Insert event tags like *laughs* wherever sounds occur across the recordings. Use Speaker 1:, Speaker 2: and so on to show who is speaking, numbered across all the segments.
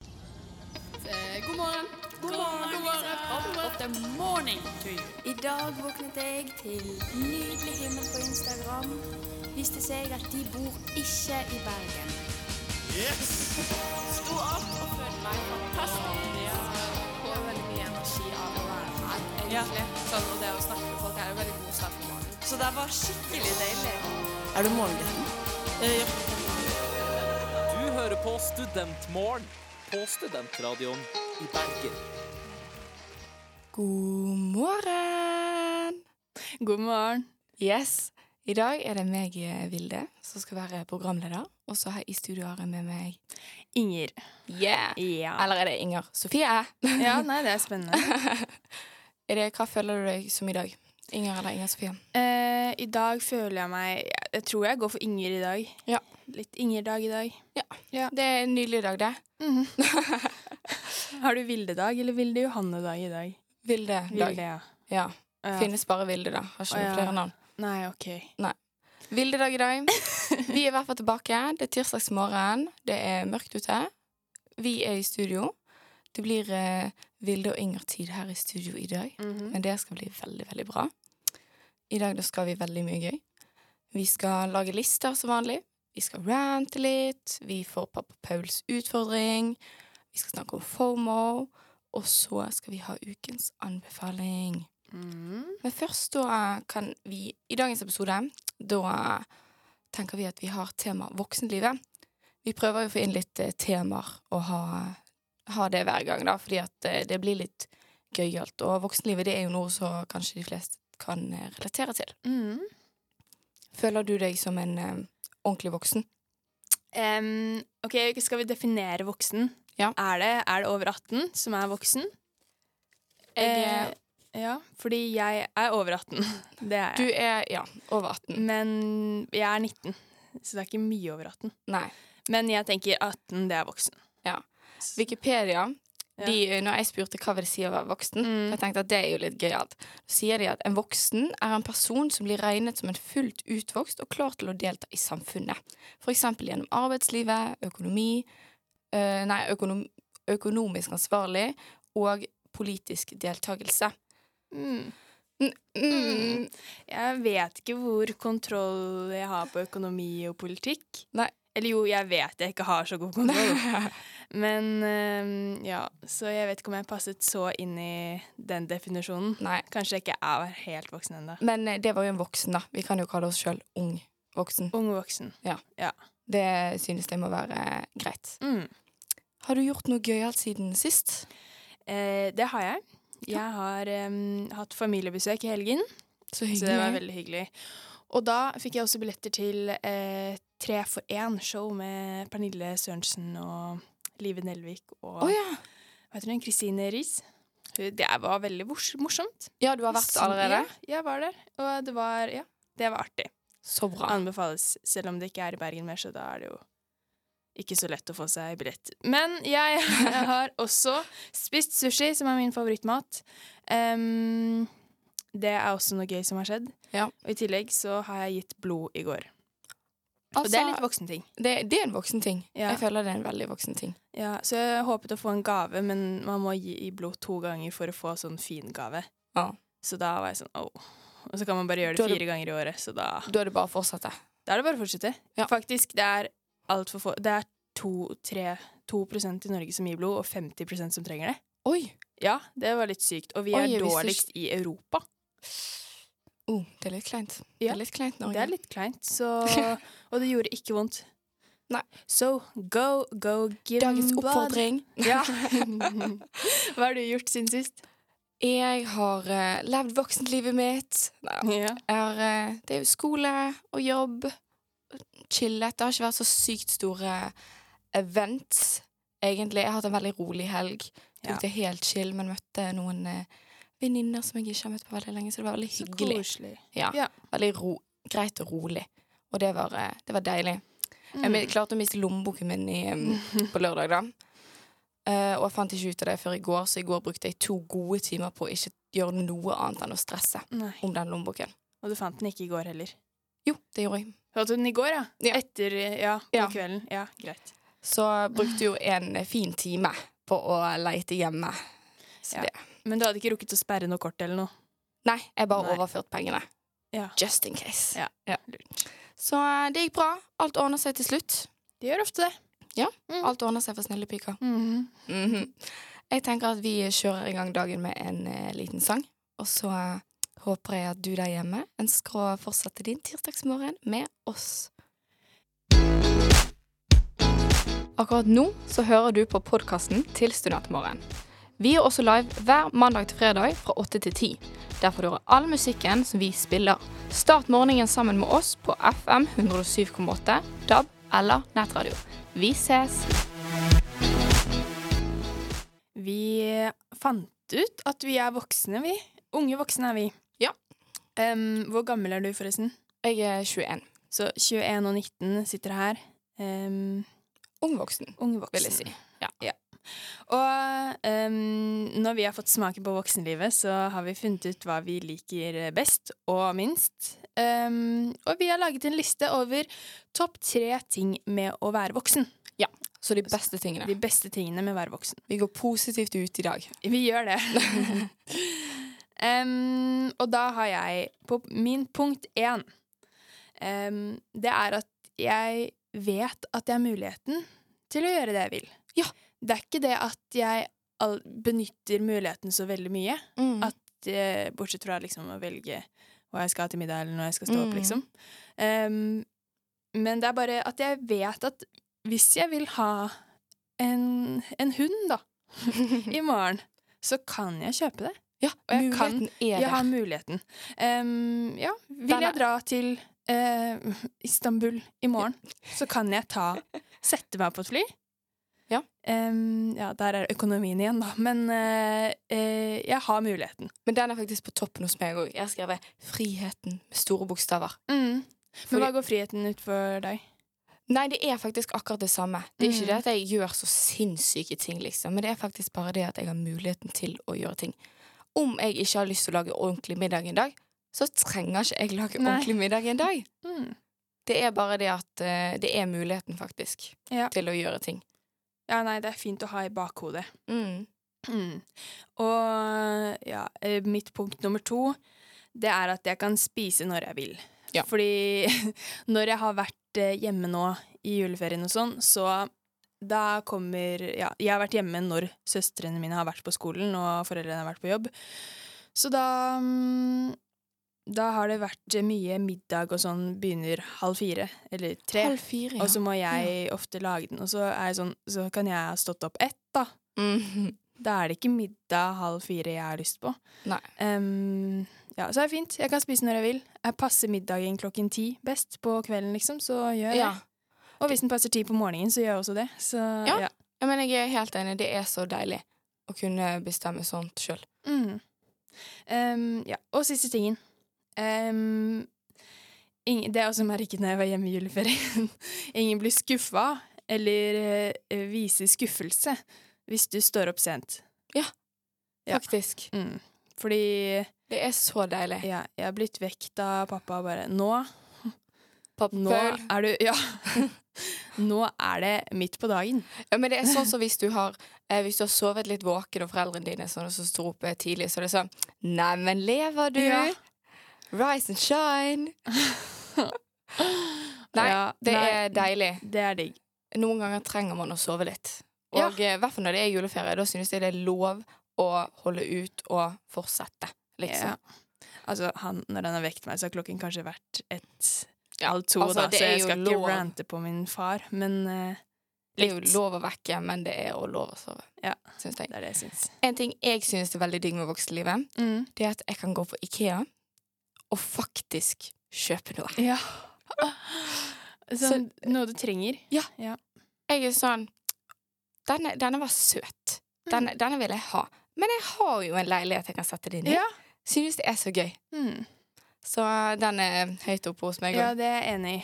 Speaker 1: morgen. Eh, God morgen. God morgen. Kom opp the morning to you.
Speaker 2: I dag våknet jeg til nydelig himmel på Instagram. Viste seg at de bor ikke i Bergen.
Speaker 3: Yes!
Speaker 1: Sto opp og følte meg fantastisk. Jeg får veldig mye energi av å være her, egentlig. Sånn, og det å snakke med folk er en veldig god start på morgenen. Så det var skikkelig deilig.
Speaker 4: Er du morgengutten?
Speaker 5: Du hører på Studentmorgen på Studentradioen i Bergen.
Speaker 2: God morgen! God morgen. Yes. I dag er det meg, eh, Vilde, som skal være programleder. Og så har jeg i studio har jeg med meg
Speaker 6: Inger.
Speaker 2: Yeah!
Speaker 6: Ja.
Speaker 2: *laughs* Eller er det Inger Sofie?
Speaker 6: ja, nei, det er spennende.
Speaker 2: *laughs* Er det, hva føler du deg som i dag? Inger eller Inger Sofie?
Speaker 6: Eh, I dag føler jeg meg jeg- Jeg tror jeg går for Inger i dag.
Speaker 2: Ja.
Speaker 6: Litt Inger-dag i dag.
Speaker 2: Det er en nydelig dag, det.
Speaker 6: Har du Vilde-dag eller Vilde Johanne-dag i dag?
Speaker 2: Vilde dag.
Speaker 6: Vilde, ja.
Speaker 2: Ja.
Speaker 6: ja.
Speaker 2: Finnes bare Vilde, da. Har ikke
Speaker 6: Å,
Speaker 2: noen
Speaker 6: ja.
Speaker 2: flere navn.
Speaker 6: Nei, OK.
Speaker 2: Vilde dag i
Speaker 6: *laughs*
Speaker 2: dag. Vi er i hvert fall tilbake. Det er tirsdagsmorgen. Det er mørkt ute. Vi er i studio. Det blir eh, Vilde og Inger tid her i studio i dag.
Speaker 6: Mhm.
Speaker 2: Men det skal bli veldig, veldig bra. I dag da skal vi veldig mye gøy. Vi skal lage lister som vanlig. Vi skal rante litt. Vi får pappa Pauls utfordring. Vi skal snakke om FOMO. Og så skal vi ha ukens anbefaling.
Speaker 6: Mhm.
Speaker 2: Men først da eh, kan vi I dagens episode da eh, tenker vi at vi har tema voksenlivet. Vi prøver jo å få inn litt eh, temaer og ha, ha det hver gang, da, fordi at eh, det blir litt gøyalt. Og voksenlivet det er jo noe som kanskje de fleste kan eh, relatere til.
Speaker 6: Mhm.
Speaker 2: Føler du deg som en eh, ordentlig voksen?
Speaker 6: Em, OK, skal vi definere voksen?
Speaker 2: Ja.
Speaker 6: Er, det, er det over 18 som er voksen?
Speaker 2: Jeg,
Speaker 6: Eh, ja, fordi jeg er over 18. *laughs* Det er
Speaker 2: du
Speaker 6: jeg.
Speaker 2: er ja, over 18.
Speaker 6: Mm. Men jeg er 19, så det er ikke mye over 18.
Speaker 2: Nei.
Speaker 6: Men jeg tenker 18, det er voksen.
Speaker 2: Wikipedia
Speaker 6: Ja.
Speaker 2: de, eh, Når jeg spurte hva vil det si å være voksen
Speaker 6: Mm.
Speaker 2: for Jeg tenkte at det er jo litt gøyalt Så sier de at en voksen er en person som blir regnet som en fullt utvokst Og klar til å delta i samfunnet For eksempel gjennom arbeidslivet, økonomi eh, Nei, økonom, økonomisk ansvarlig Og politisk deltakelse mm.
Speaker 6: Jeg vet ikke hvor kontroll jeg har på økonomi og politikk.
Speaker 2: Nei.
Speaker 6: Eller jo, jeg vet jeg ikke har så god kontroll. *laughs* Men øhm, ja, så jeg vet ikke om jeg passet så inn i den definisjonen.
Speaker 2: *laughs* Nei,
Speaker 6: Kanskje jeg ikke er helt voksen ennå.
Speaker 2: men eh, det var jo en voksen da Vi kan jo kalle oss selv ung voksen
Speaker 6: Ung voksen.
Speaker 2: Det synes jeg må være eh, greit
Speaker 6: Mm.
Speaker 2: Har du gjort noe gøyalt siden sist?
Speaker 6: Eh, det har jeg. Jeg har øhm, hatt familiebesøk i helgen.
Speaker 2: Så
Speaker 6: Så det var veldig hyggelig. Og da fikk jeg også billetter til eh, Tre for én-show med Pernille Sørensen og Live Nelvik og
Speaker 2: Å ja.
Speaker 6: hva heter hun, Kristine Riis. Hun- Det var veldig mors- morsomt.
Speaker 2: ja, du har vært
Speaker 6: Så-
Speaker 2: allerede?
Speaker 6: Ja, jeg var der. Og det var Ja, det var artig.
Speaker 2: Så bra.
Speaker 6: Anbefales, selv om det ikke er i Bergen mer, så da er det jo ikke så lett å få seg billett. Men jeg *laughs* har også spist sushi, som er min favorittmat. Em, det er også noe gøy som har skjedd.
Speaker 2: Ja.
Speaker 6: Og i tillegg så har jeg gitt blod i går. og det er litt voksen ting.
Speaker 2: Altså, det, det er en voksen ting.
Speaker 6: Ja.
Speaker 2: Jeg føler det er en veldig voksen ting.
Speaker 6: Ja, så jeg håpet å få en gave, men man må gi i blod to ganger for å få sånn fin gave.
Speaker 2: Ja.
Speaker 6: Så da var jeg sånn åh. Og så kan man bare
Speaker 2: Da
Speaker 6: gjøre det
Speaker 2: er det-
Speaker 6: fire ganger i året, så da,
Speaker 2: Da er det bare å fortsette.
Speaker 6: da er det bare å fortsette.
Speaker 2: Ja.
Speaker 6: Faktisk, det er altfor få Det er to, tre, to prosent i Norge som gir blod, og 50 prosent som trenger det.
Speaker 2: Oi!
Speaker 6: Ja, det var litt sykt. Og vi
Speaker 2: Oi,
Speaker 6: er
Speaker 2: jeg visste
Speaker 6: dårligst i Europa.
Speaker 2: Oh, det er litt kleint. Det
Speaker 6: Ja.
Speaker 2: er litt kleint, Norge.
Speaker 6: Det er litt kleint, så
Speaker 2: *laughs*
Speaker 6: Og det gjorde ikke vondt.
Speaker 2: Nei.
Speaker 6: So go, go, give
Speaker 2: Dagens
Speaker 6: them blood.
Speaker 2: oppfordring.
Speaker 6: *laughs*
Speaker 2: *laughs*
Speaker 6: Ja. Hva har du gjort siden sist?
Speaker 2: Jeg har eh, levd voksenlivet mitt. Nei,
Speaker 6: Ja.
Speaker 2: Jeg har, eh, det er jo skole og jobb. Chillet. Det har ikke vært så sykt store eh, events, egentlig. Jeg har hatt en veldig rolig helg. Tok
Speaker 6: Ja.
Speaker 2: det helt chill, men møtte noen eh, venninner som jeg ikke har møtt på veldig lenge, så det var veldig hyggelig. Ja.
Speaker 6: Ja.
Speaker 2: Veldig ro greit og rolig. Og det var, eh, det var deilig.
Speaker 6: Mm.
Speaker 2: Jeg mi- klarte å miste lommeboken min i,
Speaker 6: *laughs*
Speaker 2: um, på lørdag, da. Eh, og jeg fant ikke ut av det før i går, så i går brukte jeg to gode timer på å ikke gjøre noe annet enn å stresse
Speaker 6: Nei.
Speaker 2: om den lommeboken.
Speaker 6: Og du fant den ikke i går heller.
Speaker 2: Jo, det gjorde jeg.
Speaker 6: Du hadde den i går, ja?
Speaker 2: Ja.
Speaker 6: Etter ja, på
Speaker 2: Ja.
Speaker 6: kvelden. Ja, greit.
Speaker 2: Så brukte jo en eh, fin time på å leite hjemme. Så
Speaker 6: Ja.
Speaker 2: det.
Speaker 6: Men du hadde ikke rukket å sperre noe kort eller noe?
Speaker 2: Nei, jeg bare
Speaker 6: Nei.
Speaker 2: overførte pengene.
Speaker 6: Ja.
Speaker 2: Just in case.
Speaker 6: Ja,
Speaker 2: Så eh, det gikk bra. Alt ordner seg til slutt.
Speaker 6: De gjør ofte det.
Speaker 2: Alt ordner seg for snille piker.
Speaker 6: Mhm.
Speaker 2: Mhm. Jeg tenker at vi kjører i gang dagen med en eh, liten sang. Og så eh, håper jeg at du der hjemme ønsker å fortsette din tirsdagsmorgen med oss. Akkurat nå så hører du på podkasten til Studentmorgen. Vi er også live hver mandag til fredag fra 8 til 10. Der får du høre all musikken som vi spiller. Start morgenen sammen med oss på FM 107,8, DAB eller nettradio. Vi ses!
Speaker 6: Vi fant ut at vi er voksne, vi. Unge voksne er vi.
Speaker 2: Ja.
Speaker 6: Em, hvor gammel er du, forresten?
Speaker 2: Jeg er 21.
Speaker 6: Så 21 og 19 sitter her. Um,
Speaker 2: Ung voksen,
Speaker 6: unge voksne.
Speaker 2: vil jeg si.
Speaker 6: Og em, når vi har fått smake på voksenlivet, så har vi funnet ut hva vi liker best og minst. Em, og vi har laget en liste over topp tre ting med å være voksen.
Speaker 2: Så de beste tingene.
Speaker 6: De beste tingene med å være voksen.
Speaker 2: Vi går positivt ut i dag.
Speaker 6: Vi
Speaker 2: *laughs*
Speaker 6: gjør det. Em, og da har jeg på min punkt én em, Det er at jeg vet at jeg har muligheten til å gjøre det jeg vil.
Speaker 2: Ja.
Speaker 6: Det er ikke det at jeg all benytter muligheten så veldig mye, *laughs*
Speaker 2: At,
Speaker 6: eh, bortsett fra liksom å velge hva jeg skal ha til middag, eller når jeg skal stå opp,
Speaker 2: Mm.
Speaker 6: liksom. Em, men det er bare at jeg vet at hvis jeg vil ha en, en hund, da, i morgen, så kan jeg kjøpe det.
Speaker 2: ja,
Speaker 6: og jeg
Speaker 2: muligheten er
Speaker 6: Jeg har
Speaker 2: der.
Speaker 6: muligheten. Ehm, ja, vil
Speaker 2: Den
Speaker 6: jeg
Speaker 2: er-
Speaker 6: dra til eh, Istanbul i morgen, så kan jeg ta Sette meg på et fly.
Speaker 2: Ja.
Speaker 6: Ehm, ja, der er økonomien igjen, da. Men eh, eh, jeg har muligheten.
Speaker 2: Men den er faktisk på toppen hos meg òg. Jeg har skrevet 'Friheten' med store bokstaver.
Speaker 6: Mm. Men hva
Speaker 2: Fordi-
Speaker 6: går friheten ut for deg?
Speaker 2: Nei, det er faktisk akkurat det samme. Det er
Speaker 6: Mm.
Speaker 2: ikke det at jeg gjør så sinnssyke ting, liksom, men det er faktisk bare det at jeg har muligheten til å gjøre ting. Om jeg ikke har lyst til å lage ordentlig middag en dag, så trenger ikke jeg lage
Speaker 6: Nei.
Speaker 2: ordentlig middag en dag.
Speaker 6: Mm.
Speaker 2: Det er bare det at eh, det er muligheten, faktisk,
Speaker 6: Ja.
Speaker 2: til å gjøre ting.
Speaker 6: Ja, nei, det er fint å ha i bakhodet.
Speaker 2: Mm.
Speaker 6: Mm. Og ja, eh, mitt punkt nummer to, det er at jeg kan spise når jeg vil.
Speaker 2: Ja.
Speaker 6: Fordi *laughs* når jeg har vært eh, hjemme nå i juleferien og sånn, så da kommer Ja, jeg har vært hjemme når søstrene mine har vært på skolen og foreldrene har vært på jobb. Så da mm, Da har det vært eh, mye middag og sånn begynner halv fire eller tre.
Speaker 2: Halv fire, ja.
Speaker 6: Og så må jeg ofte lage den, og så, er jeg sånn, så kan jeg ha stått opp ett, da.
Speaker 2: Mhm.
Speaker 6: Da er det ikke middag halv fire jeg har lyst på.
Speaker 2: Nei.
Speaker 6: Ehm, ja, så er det fint. Jeg kan spise når jeg vil. Jeg passer middagen klokken ti best på kvelden, liksom, så gjør jeg
Speaker 2: Ja.
Speaker 6: det. Og hvis den passer ti på morgenen, så gjør jeg også det. Så,
Speaker 2: Ja.
Speaker 6: ja.
Speaker 2: Ja, men jeg er helt enig. Det er så deilig å kunne bestemme sånt sjøl.
Speaker 6: Mm. Ehm, ja. Og siste tingen. Ehm, ingen, det er også merket når jeg var hjemme i juleferien. *laughs* ingen blir skuffa eller eh, viser skuffelse hvis du står opp sent. Ja.
Speaker 2: Faktisk.
Speaker 6: Mm. Fordi
Speaker 2: Det er så deilig.
Speaker 6: Ja, jeg har blitt vekt av pappa og bare Nå, nå
Speaker 2: Pappføl.
Speaker 6: er du Ja. *laughs* nå er det midt på dagen.
Speaker 2: Ja, men det er sånn som hvis du har eh, Hvis du har sovet litt våken, og foreldrene dine er sånn, og så står opp eh, tidlig, så er det sånn Neimen, lever du?
Speaker 6: Ja.
Speaker 2: Rise and shine. Nei,
Speaker 6: Ja,
Speaker 2: det
Speaker 6: nei.
Speaker 2: er deilig.
Speaker 6: Det er digg.
Speaker 2: Noen ganger trenger man å sove litt.
Speaker 6: Ja.
Speaker 2: Og eh, i hvert fall når det er juleferie. Da synes jeg det er lov å holde ut og fortsette, liksom.
Speaker 6: Ja. Altså, han, når han har vekt meg, så har klokken kanskje vært ett
Speaker 2: Ja,
Speaker 6: halv to,
Speaker 2: altså,
Speaker 6: da,
Speaker 2: det
Speaker 6: så
Speaker 2: er
Speaker 6: jeg
Speaker 2: jo
Speaker 6: skal ikke
Speaker 2: lov.
Speaker 6: rante på min far, men eh,
Speaker 2: Det er jo
Speaker 6: litt.
Speaker 2: lov å vekke, men det er også lov å sove.
Speaker 6: Ja.
Speaker 2: Synes jeg.
Speaker 6: det er det jeg syns.
Speaker 2: En ting jeg synes er veldig digg med voksenlivet,
Speaker 6: Mm.
Speaker 2: det er at jeg kan gå på Ikea og faktisk kjøpe noe.
Speaker 6: *laughs* Ja. Sånn,
Speaker 2: Så-
Speaker 6: noe du trenger.
Speaker 2: Ja.
Speaker 6: ja.
Speaker 2: Jeg er sånn Denne, denne var søt.
Speaker 6: Mm.
Speaker 2: Denne, denne vil jeg ha. Men jeg har jo en leilighet jeg kan sette det inn i.
Speaker 6: Ja.
Speaker 2: Synes det er så gøy.
Speaker 6: Mm.
Speaker 2: Så den er høyt oppe hos meg.
Speaker 6: ja,
Speaker 2: Ja.
Speaker 6: det er jeg enig i.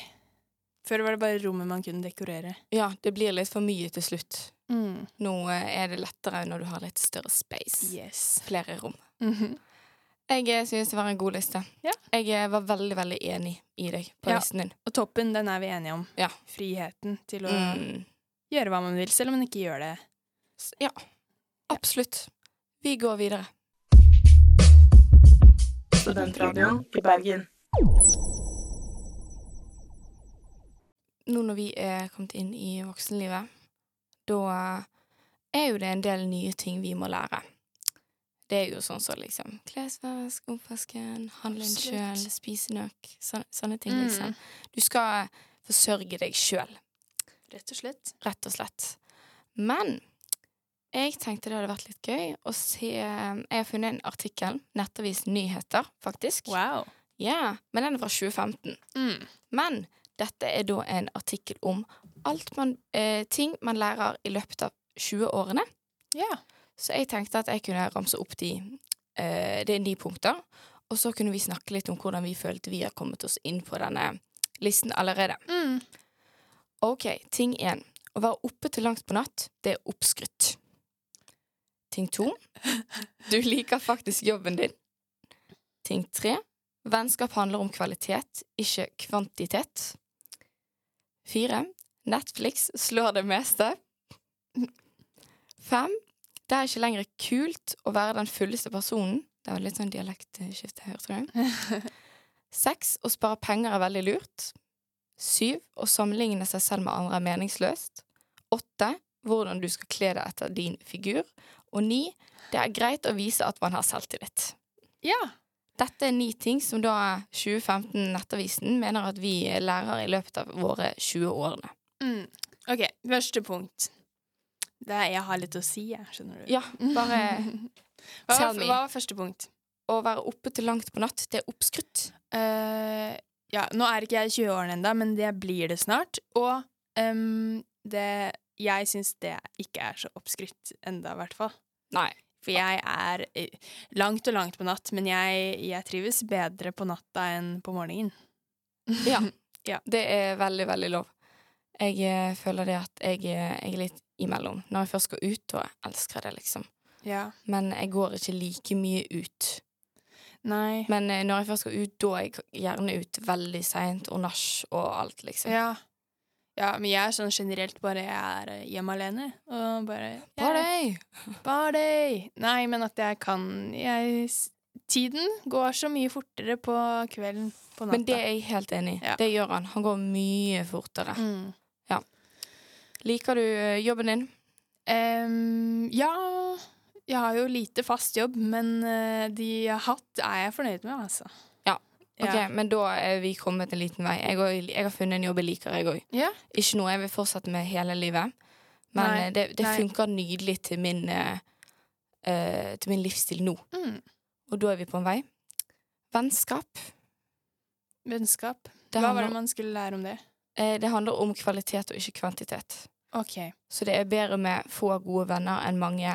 Speaker 6: Før var det bare rommet man kunne dekorere.
Speaker 2: ja, det blir litt for mye til slutt.
Speaker 6: Mm.
Speaker 2: Nå eh, er det lettere når du har litt større space.
Speaker 6: Yes.
Speaker 2: Flere rom.
Speaker 6: Mhm.
Speaker 2: Jeg eh, synes det var en god liste.
Speaker 6: Ja.
Speaker 2: Jeg eh, var veldig, veldig enig i deg på
Speaker 6: Ja.
Speaker 2: listen din.
Speaker 6: Og toppen, den er vi enige om.
Speaker 2: Ja.
Speaker 6: Friheten til å
Speaker 2: Mm.
Speaker 6: gjøre hva man vil, selv om man ikke gjør det
Speaker 2: S- Ja. Absolutt. Vi går videre.
Speaker 4: Studentradioen i Bergen.
Speaker 2: nå når vi er kommet inn i voksenlivet, da er jo det en del nye ting vi må lære. Det er jo sånn som liksom klesvask, oppvasken, handle inn
Speaker 6: Absolutt.
Speaker 2: sjøl, spise nok, sånne, sånne ting,
Speaker 6: Mm.
Speaker 2: liksom. Du skal forsørge deg sjøl,
Speaker 6: Rett og slett.
Speaker 2: rett og slett. Men jeg tenkte det hadde vært litt gøy å se Jeg har funnet en artikkel, Nettavisen Nyheter, faktisk.
Speaker 6: Wow.
Speaker 2: Ja, men den er fra 2015.
Speaker 6: Mm.
Speaker 2: Men dette er da en artikkel om alt man, eh, ting man lærer i løpet av 20-årene.
Speaker 6: Ja.
Speaker 2: Så jeg tenkte at jeg kunne ramse opp de, eh, det er ni punkter. Og så kunne vi snakke litt om hvordan vi følte vi har kommet oss inn på denne listen allerede.
Speaker 6: Mm.
Speaker 2: Ok, ting én. Å være oppe til langt på natt, det er oppskrytt. Ting to. Du liker faktisk jobben din. Ting tre. Vennskap handler om kvalitet, ikke kvantitet. Fire. Netflix slår det meste. Fem. Det er ikke lenger kult å være den fulleste personen. Det var litt sånn dialektskifte her, tror jeg. Seks. Å spare penger er veldig lurt. Syv. Å sammenligne seg selv med andre er meningsløst. Åtte. Hvordan du skal kle deg etter din figur. Og ni. Det er greit å vise at man har selvtillit.
Speaker 6: Ja.
Speaker 2: Dette er ni ting som da 2015 Nettavisen mener at vi lærer i løpet av våre 20 årene.
Speaker 6: Mm. OK, første punkt. Det er, jeg har litt å si, jeg, skjønner du.
Speaker 2: Ja, bare
Speaker 6: hva,
Speaker 2: tell
Speaker 6: var,
Speaker 2: me.
Speaker 6: hva var første punkt?
Speaker 2: å være oppe til langt på natt, det er oppskrytt.
Speaker 6: Eh, ja, nå er ikke jeg i 20-årene ennå, men det blir det snart. Og ehm, det Jeg syns det ikke er så oppskrytt enda, i hvert fall.
Speaker 2: Nei.
Speaker 6: For jeg er eh, langt og langt på natt, men jeg, jeg trives bedre på natta enn på morgenen.
Speaker 2: Ja.
Speaker 6: Ja.
Speaker 2: Det er veldig, veldig lov. Jeg eh, føler det at jeg, eh, jeg er litt imellom. Når jeg først går ut, da elsker jeg det, liksom.
Speaker 6: Ja.
Speaker 2: Men jeg går ikke like mye ut.
Speaker 6: Nei.
Speaker 2: Men eh, når jeg først går ut, da er jeg gjerne ut veldig seint og nach og alt, liksom.
Speaker 6: Ja. ja, men jeg er sånn generelt bare jeg er eh, hjemme alene. Og bare
Speaker 2: Bra
Speaker 6: jeg-
Speaker 2: deg!
Speaker 6: Party! Nei, men at jeg kan jeg, s- Tiden går så mye fortere på kvelden, på natta.
Speaker 2: Men det er jeg helt enig i.
Speaker 6: Ja.
Speaker 2: Det gjør han. Han går mye fortere.
Speaker 6: mm.
Speaker 2: Liker du eh, jobben din?
Speaker 6: Em, Ja, jeg har jo lite fast jobb, men eh, de jeg har hatt, er jeg fornøyd med, altså.
Speaker 2: Ja. Ok,
Speaker 6: Ja.
Speaker 2: Men da er vi kommet en liten vei. Jeg, og- jeg har funnet en jobb jeg liker, jeg òg.
Speaker 6: Ja.
Speaker 2: Ikke noe jeg vil fortsette med hele livet, men
Speaker 6: Nei,
Speaker 2: eh, det, det
Speaker 6: nei.
Speaker 2: funker nydelig til min, eh, eh, til min livsstil nå.
Speaker 6: Mm.
Speaker 2: Og da er vi på en vei. Vennskap.
Speaker 6: Vennskap.
Speaker 2: Det
Speaker 6: Hva var
Speaker 2: handler,
Speaker 6: det man skulle lære om det?
Speaker 2: eh, det handler om kvalitet og ikke kvantitet.
Speaker 6: OK.
Speaker 2: Så det er bedre med få gode venner enn mange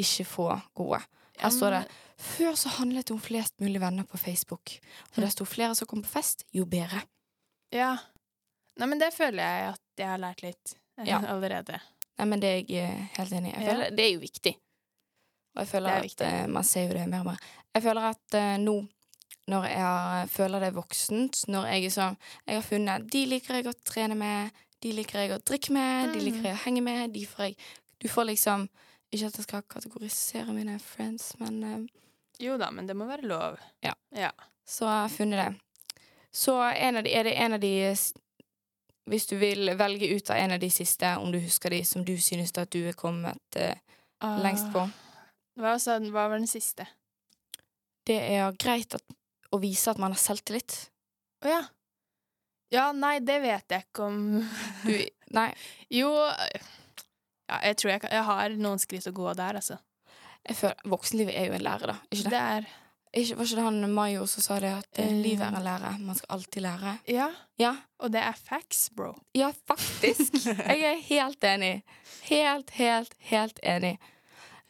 Speaker 2: ikke få gode. Her står det Før så handlet det om flest mulig venner på Facebook. Og desto flere som kom på fest, jo bedre.
Speaker 6: Ja. Nei, men det føler jeg at jeg har lært litt eh,
Speaker 2: Ja.
Speaker 6: *laughs* allerede.
Speaker 2: Nei, men det er jeg eh, helt enig i. Jeg
Speaker 6: Ja.
Speaker 2: føler- Det er jo viktig. Og jeg føler
Speaker 6: Det er
Speaker 2: at
Speaker 6: viktig.
Speaker 2: eh, man ser jo det mer og mer. Jeg føler at eh, nå, når jeg har- eh, føler det er voksent, når jeg er sånn Jeg har funnet de liker jeg å trene med, de liker jeg å drikke med,
Speaker 6: Mm.
Speaker 2: de liker jeg å henge med, de får jeg Du får liksom Ikke at jeg skal kategorisere mine friends, men eh,
Speaker 6: Jo da, men det må være lov.
Speaker 2: så har jeg funnet det. Så en av de, er det en av de s- Hvis du vil velge ut av en av de siste, om du husker de, som du synes at du er kommet eh, lengst på
Speaker 6: Ah. Hva, sa, den- hva var den siste?
Speaker 2: Det er greit at, å vise at man har selvtillit.
Speaker 6: Å ja. Ja, nei, det vet jeg ikke om *laughs*
Speaker 2: *laughs* Du, nei,
Speaker 6: Jo ja, Jeg tror jeg, kan, jeg har noen skritt å gå der, altså.
Speaker 2: jeg føler, voksenlivet er jo en lære, da. Ikke det?
Speaker 6: Det er
Speaker 2: Ikke, var ikke det han Mayo som sa det, at eh,
Speaker 6: Eh.
Speaker 2: livet er en lære, man skal alltid lære?
Speaker 6: Ja.
Speaker 2: Ja,
Speaker 6: Og det er facts, bro.
Speaker 2: ja faktisk.
Speaker 6: *laughs*
Speaker 2: Jeg er helt enig. Helt, helt, helt enig.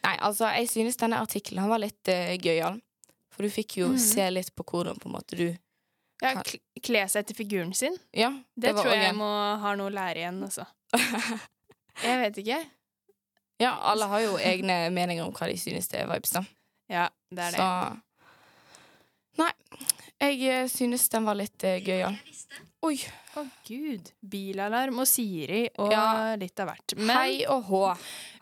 Speaker 2: Nei, altså, jeg synes denne artikkelen han var litt eh, gøyal. For du fikk jo
Speaker 6: Mhm.
Speaker 2: se litt på hvordan på en måte du
Speaker 6: Ja,
Speaker 2: Kan-
Speaker 6: kl- Kle seg etter figuren sin.
Speaker 2: Ja,
Speaker 6: Det,
Speaker 2: var
Speaker 6: tror jeg
Speaker 2: også-
Speaker 6: må ha noe å lære igjen, *laughs* altså. Jeg vet ikke.
Speaker 2: Ja, alle har jo egne meninger om hva de synes det er vibes, da.
Speaker 6: Ja, det er det.
Speaker 2: Så Nei. Jeg eh, synes den var litt eh, gøyal. Oi.
Speaker 6: Å gud. Bilalarm og Siri og
Speaker 2: Ja.
Speaker 6: litt av hvert. Men
Speaker 2: Hei og hå.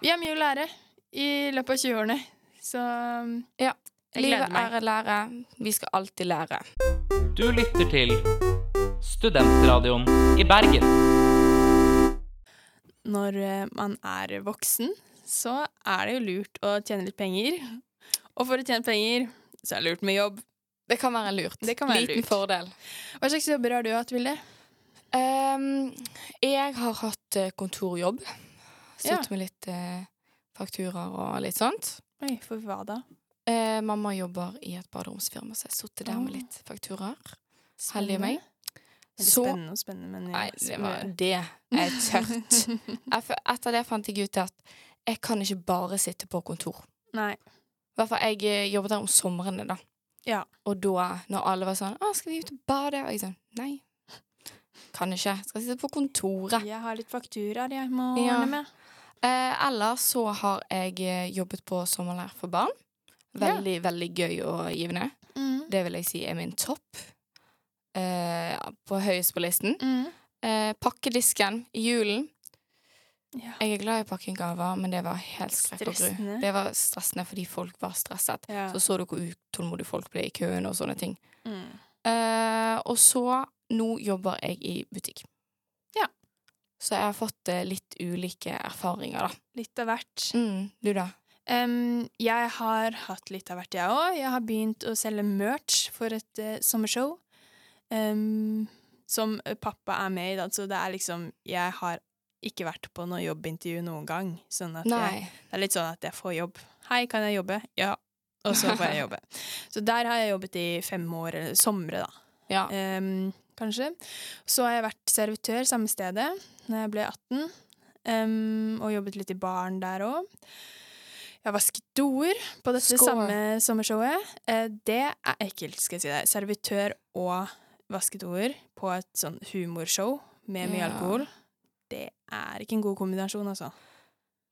Speaker 6: vi har mye å lære. i løpet av 20-årene. Så um,
Speaker 2: Ja.
Speaker 6: jeg gleder
Speaker 2: Livet
Speaker 6: meg.
Speaker 2: er å lære. Vi skal alltid lære.
Speaker 5: Du lytter til Studentradioen i Bergen.
Speaker 6: Når eh, man er voksen, så er det jo lurt å tjene litt penger. Og for å tjene penger, så er det lurt med jobb.
Speaker 2: Det kan være lurt.
Speaker 6: Det kan være
Speaker 2: Liten
Speaker 6: lurt.
Speaker 2: fordel.
Speaker 6: Hva slags jobber har du hatt, Vilde?
Speaker 2: Ehm, jeg har hatt eh, kontorjobb.
Speaker 6: Ja.
Speaker 2: Sittet med litt eh, fakturaer og litt sånt.
Speaker 6: Oi, for hva da?
Speaker 2: Eh, mamma jobber i et baderomsfirma, så jeg sittet der med
Speaker 6: Ah.
Speaker 2: litt fakturaer.
Speaker 6: Spennende.
Speaker 2: Heldig meg.
Speaker 6: Eller
Speaker 2: Så
Speaker 6: spennende og spennende, men
Speaker 2: Nei, det var
Speaker 6: spennende.
Speaker 2: det er tørt.
Speaker 6: *laughs*
Speaker 2: Jeg fø- Etter det fant jeg ut at jeg kan ikke bare sitte på kontor.
Speaker 6: Nei.
Speaker 2: I hvert fall jeg eh, jobbet der om somrene, da.
Speaker 6: Ja.
Speaker 2: Og da, når alle var sånn 'Å, skal vi ut og bade?' Og jeg sånn Nei. Kan ikke. Jeg skal sitte på kontoret.
Speaker 6: Jeg har litt fakturaer jeg må
Speaker 2: Ja.
Speaker 6: ordne med.
Speaker 2: Eh, ellers så har jeg eh, jobbet på sommerleir for barn. Veldig, veldig gøy og givende.
Speaker 6: Mm.
Speaker 2: Det vil jeg si er min topp. Eh, ja, på høyest på listen.
Speaker 6: Mm.
Speaker 2: Eh, pakkedisken i julen.
Speaker 6: Ja.
Speaker 2: Jeg er glad i pakkegaver, men det var helt skrekk og gru.
Speaker 6: Stressende.
Speaker 2: Det var stressende fordi folk var stresset.
Speaker 6: Ja.
Speaker 2: Så så du hvor utålmodige folk ble i køen og sånne ting.
Speaker 6: Mm.
Speaker 2: Eh, og så nå jobber jeg i butikk.
Speaker 6: Ja.
Speaker 2: Så jeg har fått eh, litt ulike erfaringer, da.
Speaker 6: Litt av hvert.
Speaker 2: Mm, du, da?
Speaker 6: Em, jeg har hatt litt av hvert, jeg òg. Jeg har begynt å selge merch for et eh, sommershow. em, som eh, pappa er med i, da. Så det er liksom Jeg har ikke vært på noe jobbintervju noen gang. Sånn at jeg,
Speaker 2: Nei.
Speaker 6: det er litt sånn at jeg får jobb. Hei, kan jeg jobbe? Ja. Og så får
Speaker 2: *laughs*
Speaker 6: jeg jobbe. Så der har jeg jobbet i fem år, eller somre, da.
Speaker 2: Ja.
Speaker 6: Em, kanskje. Så har jeg vært servitør samme stedet når jeg ble 18, em, og jobbet litt i baren der òg. Jeg har vasket doer på dette
Speaker 2: Skål.
Speaker 6: samme sommershowet. Eh, det er ekkelt, skal jeg si deg. Servitør og vasket doer på et sånn humorshow med mye
Speaker 2: Ja.
Speaker 6: alkohol. Det er ikke en god kombinasjon, altså.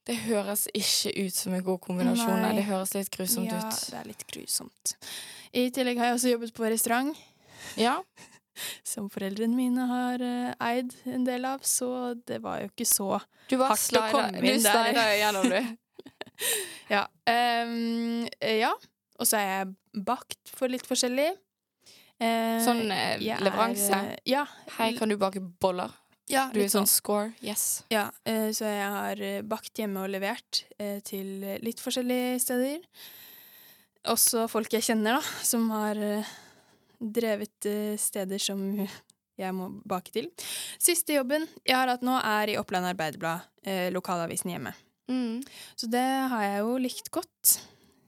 Speaker 2: Det høres ikke ut som en god kombinasjon.
Speaker 6: Nei.
Speaker 2: Nei. Det høres litt grusomt
Speaker 6: ja,
Speaker 2: ut.
Speaker 6: det er litt grusomt. I tillegg har jeg også jobbet på restaurant.
Speaker 2: Ja.
Speaker 6: som foreldrene mine har eh, eid en del av, så det var jo ikke så
Speaker 2: Du bare
Speaker 6: Hardt å komme
Speaker 2: slider
Speaker 6: inn
Speaker 2: du
Speaker 6: der.
Speaker 2: slider
Speaker 6: *laughs*
Speaker 2: jo gjennom, du.
Speaker 6: Ja. ehm, eh, ja. Og så er jeg bakt for litt forskjellig. Eh,
Speaker 2: Sånn eh,
Speaker 6: jeg er,
Speaker 2: leveranse.
Speaker 6: eh, ja.
Speaker 2: Hei, kan du bake boller?
Speaker 6: ja
Speaker 2: Du er
Speaker 6: litt
Speaker 2: sånn score. Yes.
Speaker 6: Ja, eh, så jeg har eh, bakt hjemme og levert eh, til litt forskjellige steder. Også folk jeg kjenner, da, som har eh, drevet eh, steder som *laughs* jeg må bake til. Siste jobben jeg har hatt nå, er i Oppland Arbeiderblad, eh, lokalavisen hjemme.
Speaker 2: Mm.
Speaker 6: Så det har jeg jo likt godt.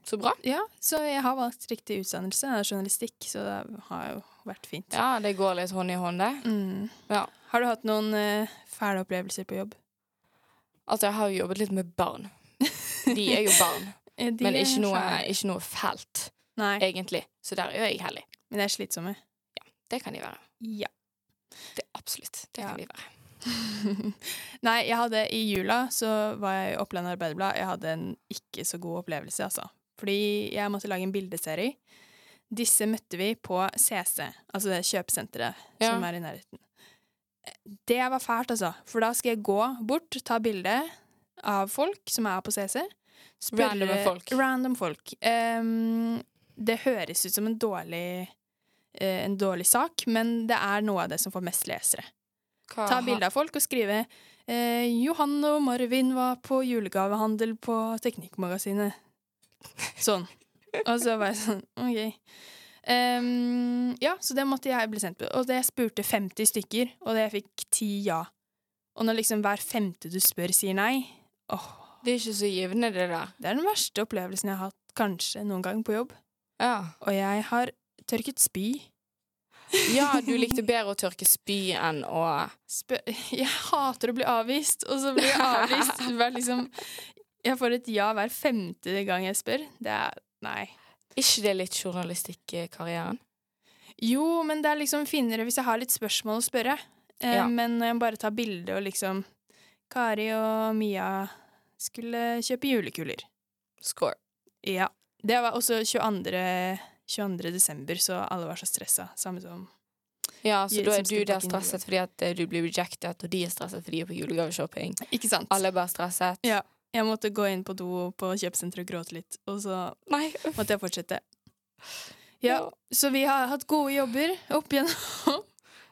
Speaker 2: Så bra.
Speaker 6: Ja, Så jeg har valgt riktig utdannelse, det er journalistikk, så det har jo vært fint.
Speaker 2: Ja, det går litt hånd i hånd, det.
Speaker 6: Mm.
Speaker 2: Ja.
Speaker 6: Har du hatt noen eh, fæle opplevelser på jobb?
Speaker 2: Altså, jeg har jo jobbet litt med barn.
Speaker 6: *laughs*
Speaker 2: De er jo barn,
Speaker 6: Eh, de
Speaker 2: men
Speaker 6: er
Speaker 2: ikke noe,
Speaker 6: fæle.
Speaker 2: ikke noe fælt,
Speaker 6: Nei,
Speaker 2: egentlig. Så der er jo jeg heldig.
Speaker 6: men de er slitsomme.
Speaker 2: Det kan de være.
Speaker 6: Ja.
Speaker 2: Det Absolutt. Det
Speaker 6: Ja.
Speaker 2: kan de være.
Speaker 6: *laughs* Nei, jeg hadde i jula så var jeg i Oppland Arbeiderblad. Jeg hadde en ikke så god opplevelse, altså. Fordi jeg måtte lage en bildeserie. Disse møtte vi på CC, altså det kjøpesenteret
Speaker 2: Ja.
Speaker 6: som er i nærheten. Det var fælt, altså. For da skal jeg gå bort, ta bilde av folk som er på CC. spørre-
Speaker 2: Randome folk.
Speaker 6: Random folk. Ehm, det høres ut som en dårlig, eh, en dårlig sak, men det er noe av det som får mest lesere.
Speaker 2: Hva
Speaker 6: Ta
Speaker 2: har-
Speaker 6: bilde av folk og skrive eh, 'Johan og Marvin var på julegavehandel på Teknikkmagasinet'. *laughs* Sånn. Og så var jeg sånn OK. Ehm, ja, så det måtte jeg bli sendt på. Og det jeg spurte 50 stykker, og det jeg fikk 10 ja. Og når liksom hver femte du spør, sier nei Åh,
Speaker 2: Det er ikke så givende, det der.
Speaker 6: Det er den verste opplevelsen jeg har hatt kanskje noen gang på jobb.
Speaker 2: Ja,
Speaker 6: Og jeg har tørket spy.
Speaker 2: ja du likte bedre å tørke spy enn å
Speaker 6: Spø *laughs* jeg hater å bli avvist, og så blir jeg avvist hver liksom Jeg får et ja hver femte gang jeg spør. Det er Nei.
Speaker 2: ikke det litt journalistikkarrieren?
Speaker 6: Jo, men det er liksom finere hvis jeg har litt spørsmål å spørre. Eh,
Speaker 2: Ja.
Speaker 6: Men når jeg bare tar bilde og liksom Kari og Mia skulle kjøpe julekuler.
Speaker 2: Score.
Speaker 6: Ja. Det var også 22. 22. desember, så alle var så stressa. Samme som
Speaker 2: Ja, så
Speaker 6: Jeg
Speaker 2: da
Speaker 6: som
Speaker 2: er du
Speaker 6: skulle
Speaker 2: der
Speaker 6: pakke inn
Speaker 2: stresset fordi at eh, du blir rejected, og de er stresset fordi de er på julegaveshopping.
Speaker 6: Ikke sant?
Speaker 2: Alle er bare stresset.
Speaker 6: Ja. Jeg måtte gå inn på do på kjøpesenteret og gråte litt, og så
Speaker 2: Nei, uff.
Speaker 6: måtte jeg fortsette. Ja, så vi har hatt gode jobber opp igjennom.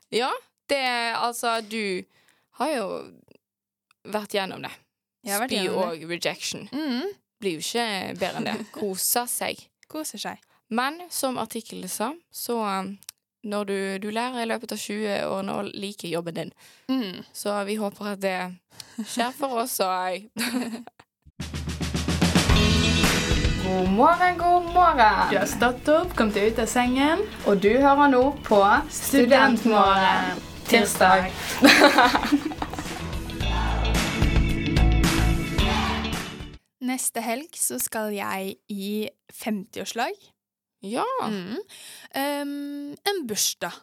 Speaker 2: Ja, det er altså Du har jo vært gjennom det.
Speaker 6: Jeg har vært
Speaker 2: Spy
Speaker 6: gjennom
Speaker 2: og rejection.
Speaker 6: Mm,
Speaker 2: Blir jo ikke bedre enn
Speaker 6: *laughs*
Speaker 2: det. Kose seg.
Speaker 6: koser seg.
Speaker 2: Men som artikkelen sa, så um, når du, du lærer i løpet av 20 årene å like jobben din.
Speaker 6: Mm.
Speaker 2: Så vi håper at det skjer for oss òg. God morgen, god morgen.
Speaker 7: Du har stått opp, kommet deg ut av sengen.
Speaker 2: Og du hører nå på Studentmorgen. Tirsdag.
Speaker 6: *laughs* Neste helg så skal jeg i 50-årslag.
Speaker 2: Ja.
Speaker 6: Mm. Um, en bursdag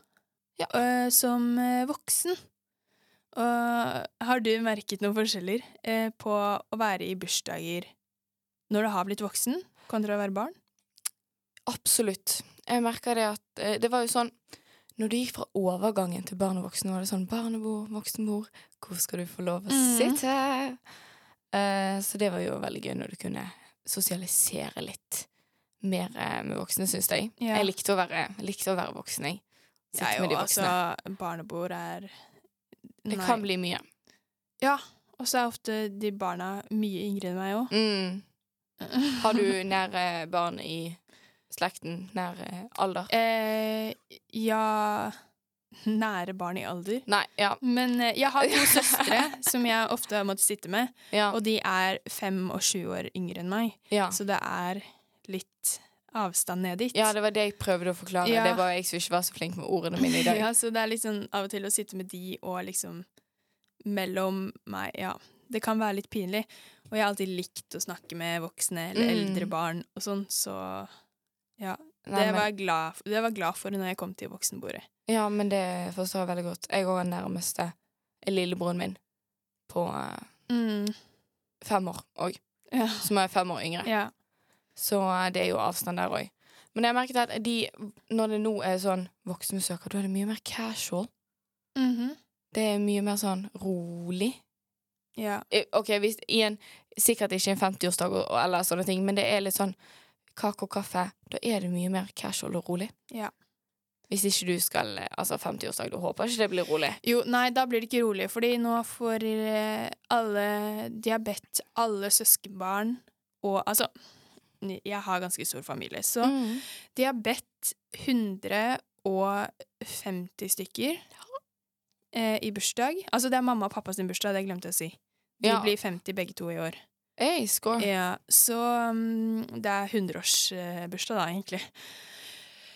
Speaker 6: Eh, som eh, voksen. Og har du merket noen forskjeller eh, på å være i bursdager når du har blitt voksen, kontra å være barn?
Speaker 2: Absolutt. Jeg merker det at eh, Det var jo sånn Når du gikk fra overgangen til barn og voksen, var det sånn Barnebord, voksenmor, hvor skal du få lov å
Speaker 6: Mm.
Speaker 2: sitte? Eh, så det var jo veldig gøy når du kunne sosialisere litt mer eh, med voksne, syns jeg.
Speaker 6: Ja.
Speaker 2: Jeg likte å være, likte å være voksen, jeg. Sitte
Speaker 6: Jeg
Speaker 2: med de
Speaker 6: og
Speaker 2: voksne.
Speaker 6: *laughs* altså, barnebord er
Speaker 2: det
Speaker 6: Nei.
Speaker 2: kan bli mye.
Speaker 6: Ja, og så er ofte de barna mye yngre enn meg òg.
Speaker 2: Mm. Har du nære barn i slekten? Nær eh, alder?
Speaker 6: Eh, ja Nære barn i alder.
Speaker 2: Nei. Ja.
Speaker 6: Men eh, jeg *laughs* har to søstre som jeg ofte har måttet sitte med,
Speaker 2: Ja.
Speaker 6: og de er fem og sju år yngre enn meg.
Speaker 2: ja.
Speaker 6: Så det er litt avstand ned dit.
Speaker 2: Ja, det var det jeg prøvde å forklare.
Speaker 6: Ja.
Speaker 2: Det var jeg som ikke var så flink med ordene mine i dag.
Speaker 6: *laughs* Ja, så det er litt sånn av og til å sitte med de og liksom mellom meg Ja, det kan være litt pinlig. Og jeg har alltid likt å snakke med voksne eller
Speaker 2: Mm.
Speaker 6: eldre barn og sånn, så ja.
Speaker 2: Nei,
Speaker 6: det,
Speaker 2: men-
Speaker 6: var jeg glad, det var jeg glad for når jeg kom til voksenbordet.
Speaker 2: Ja, men det forstår jeg veldig godt. Jeg òg er nærmeste er lillebroren min på eh, fem år òg,
Speaker 6: Ja.
Speaker 2: som er fem år yngre.
Speaker 6: ja.
Speaker 2: Så eh, det er jo avstand der òg. Men jeg merket at de, når det nå er sånn voksenbesøker, da er det mye mer casual.
Speaker 6: Mhm.
Speaker 2: Det er mye mer sånn rolig.
Speaker 6: ja.
Speaker 2: Eh, OK, hvis, i en, sikkert ikke en 50-årsdag og- og- eller sånne ting, men det er litt sånn kake og kaffe. Da er det mye mer casual og rolig.
Speaker 6: Ja.
Speaker 2: Hvis ikke du skal eh, Altså 50-årsdag, du håper ikke det blir rolig.
Speaker 6: Jo, nei, da blir det ikke rolig, fordi nå får eh, alle De har bedt alle søskenbarn og Altså, jeg har ganske stor familie, så
Speaker 2: Mm.
Speaker 6: De har bedt 150 stykker eh, i bursdag. Altså, det er mamma og pappa sin bursdag, det glemte jeg å si. De
Speaker 2: Ja.
Speaker 6: blir 50 begge to i år.
Speaker 2: Hey, skål.
Speaker 6: Ja, så mm, det er 100-årsbursdag, da, egentlig.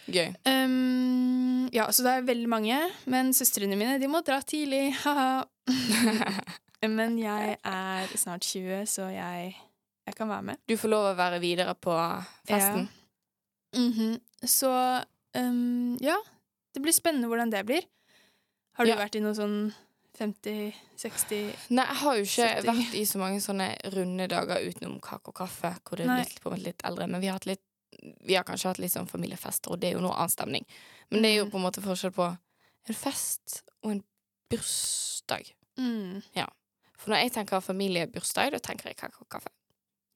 Speaker 2: Gøy.
Speaker 6: Um, ja, så det er veldig mange. Men søstrene mine, de må dra
Speaker 2: *laughs*
Speaker 6: tidlig. Haha. men jeg er snart 20, så jeg, jeg kan være med.
Speaker 2: Du får lov å være videre på festen.
Speaker 6: Mhm. Så ehm, ja, det blir spennende hvordan det blir. Har du
Speaker 2: Ja.
Speaker 6: vært i noe sånn 50-60
Speaker 2: Nei, jeg har jo ikke
Speaker 6: Sytti.
Speaker 2: vært i så mange sånne runde dager utenom kake og kaffe, hvor det er
Speaker 6: Nei.
Speaker 2: litt, på en måte litt eldre, men vi har, hatt litt, vi har kanskje hatt litt sånn familiefester, og det er jo noe annen stemning. Men det er jo
Speaker 6: Mm.
Speaker 2: på en måte forskjell på en fest og en bursdag.
Speaker 6: mm.
Speaker 2: For når jeg tenker familiebursdag, da tenker jeg kake og kaffe.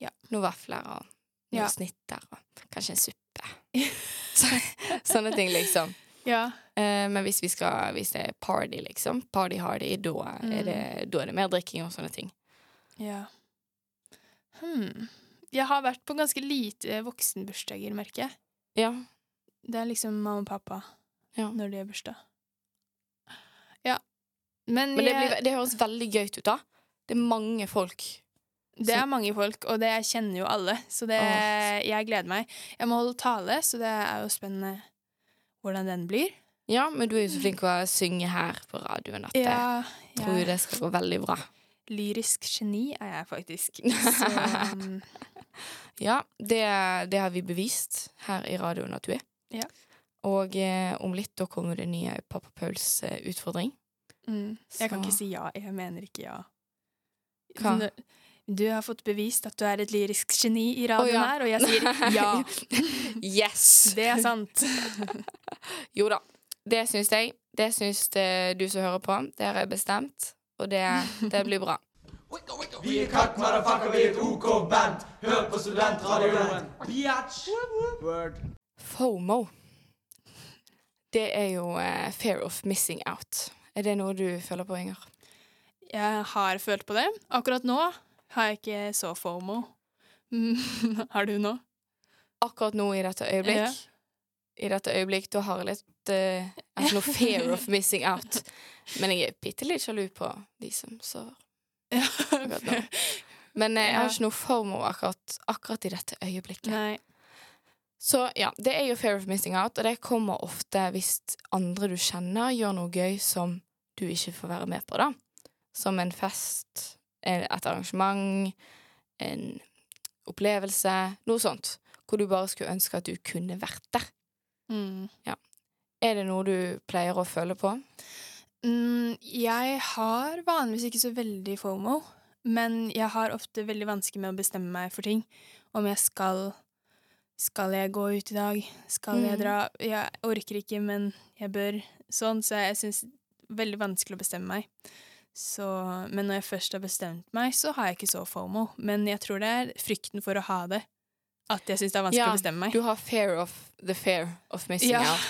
Speaker 6: Ja.
Speaker 2: Noen vafler og noen
Speaker 6: Ja.
Speaker 2: snitter og kanskje en suppe.
Speaker 6: *laughs*
Speaker 2: Så, sånne ting, liksom.
Speaker 6: Ja.
Speaker 2: Eh, men hvis vi skal Hvis det er party, liksom, party-hardy, da, er
Speaker 6: Mm.
Speaker 2: det- da er det mer drikking og sånne ting.
Speaker 6: ja. Hmm. Jeg har vært på ganske lite voksenbursdager, merker jeg.
Speaker 2: Ja.
Speaker 6: Det er liksom mamma og pappa
Speaker 2: Ja.
Speaker 6: når de har bursdag. Ja. Men,
Speaker 2: Men det,
Speaker 6: jeg,
Speaker 2: blir, det høres veldig gøy ut, da. Det er mange folk.
Speaker 6: det er mange folk, og det jeg kjenner jo alle, så det,
Speaker 2: Åh.
Speaker 6: jeg gleder meg. Jeg må holde tale, så det er jo spennende hvordan den blir.
Speaker 2: Ja, men du er jo så flink til å synge her på radioen at jeg
Speaker 6: Ja,
Speaker 2: tror jo
Speaker 6: jeg-
Speaker 2: det skal gå veldig bra.
Speaker 6: Lyrisk geni er jeg *laughs* faktisk. Så, um,
Speaker 2: Ja, det, det har vi bevist her i radioen at du er.
Speaker 6: Ja.
Speaker 2: Og eh, om litt da kommer det nye Pappa Pauls eh, utfordring.
Speaker 6: mm, jeg kan
Speaker 2: Så-
Speaker 6: ikke si ja. Jeg mener ikke ja.
Speaker 2: Hva?
Speaker 6: Nå- Du har fått bevist at du er et lyrisk geni i
Speaker 2: Å,
Speaker 6: radioen
Speaker 2: ja.
Speaker 6: her, og jeg *laughs* sier ja.
Speaker 2: Mhm. Yes!
Speaker 6: Det er sant.
Speaker 2: Jo da. Det syns jeg. Det *laughs* syns eh, du som hører på. Det har jeg bestemt, og det, det blir bra.
Speaker 3: Wiggle, wiggle,
Speaker 8: Vi er kakk, motherfucker, vi er et OK band. Hør på studentradioen. Biatch! Word.
Speaker 2: FOMO. Det er jo eh, fear of missing out. Er det noe du føler på, Inger?
Speaker 6: Jeg har følt på det. Akkurat nå har jeg ikke så fomo. *laughs* Mm, har du nå?
Speaker 2: Akkurat nå i dette øyeblikk, i dette øyeblikk, da har jeg litt eh, altså noe fear of missing out. Men jeg er bitte litt sjalu på de som sover. akkurat nå. Men eh, jeg har ikke noe FOMO akkurat, akkurat i dette øyeblikket.
Speaker 6: *laughs* Nei.
Speaker 2: Så ja, det er jo fear of missing out, og det kommer ofte hvis andre du kjenner, gjør noe gøy som du ikke får være med på, da. Som en fest, en- et arrangement, en opplevelse, noe sånt. Hvor du bare skulle ønske at du kunne vært der.
Speaker 6: Mm.
Speaker 2: Er det noe du pleier å føle på?
Speaker 6: Mm, jeg har vanligvis ikke så veldig fomo, men jeg har ofte veldig vanskelig med å bestemme meg for ting. Om jeg skal Skal jeg gå ut i dag? Skal jeg
Speaker 2: Mm.
Speaker 6: dra? Jeg orker ikke, men jeg bør. Sånn, så jeg syns veldig vanskelig å bestemme meg. Så, men når jeg først har bestemt meg, så har jeg ikke så fomo. Men jeg tror det er frykten for å ha det. At jeg syns det er vanskelig
Speaker 2: Ja,
Speaker 6: å bestemme meg.
Speaker 2: Du har fear of the fear of missing out. *laughs*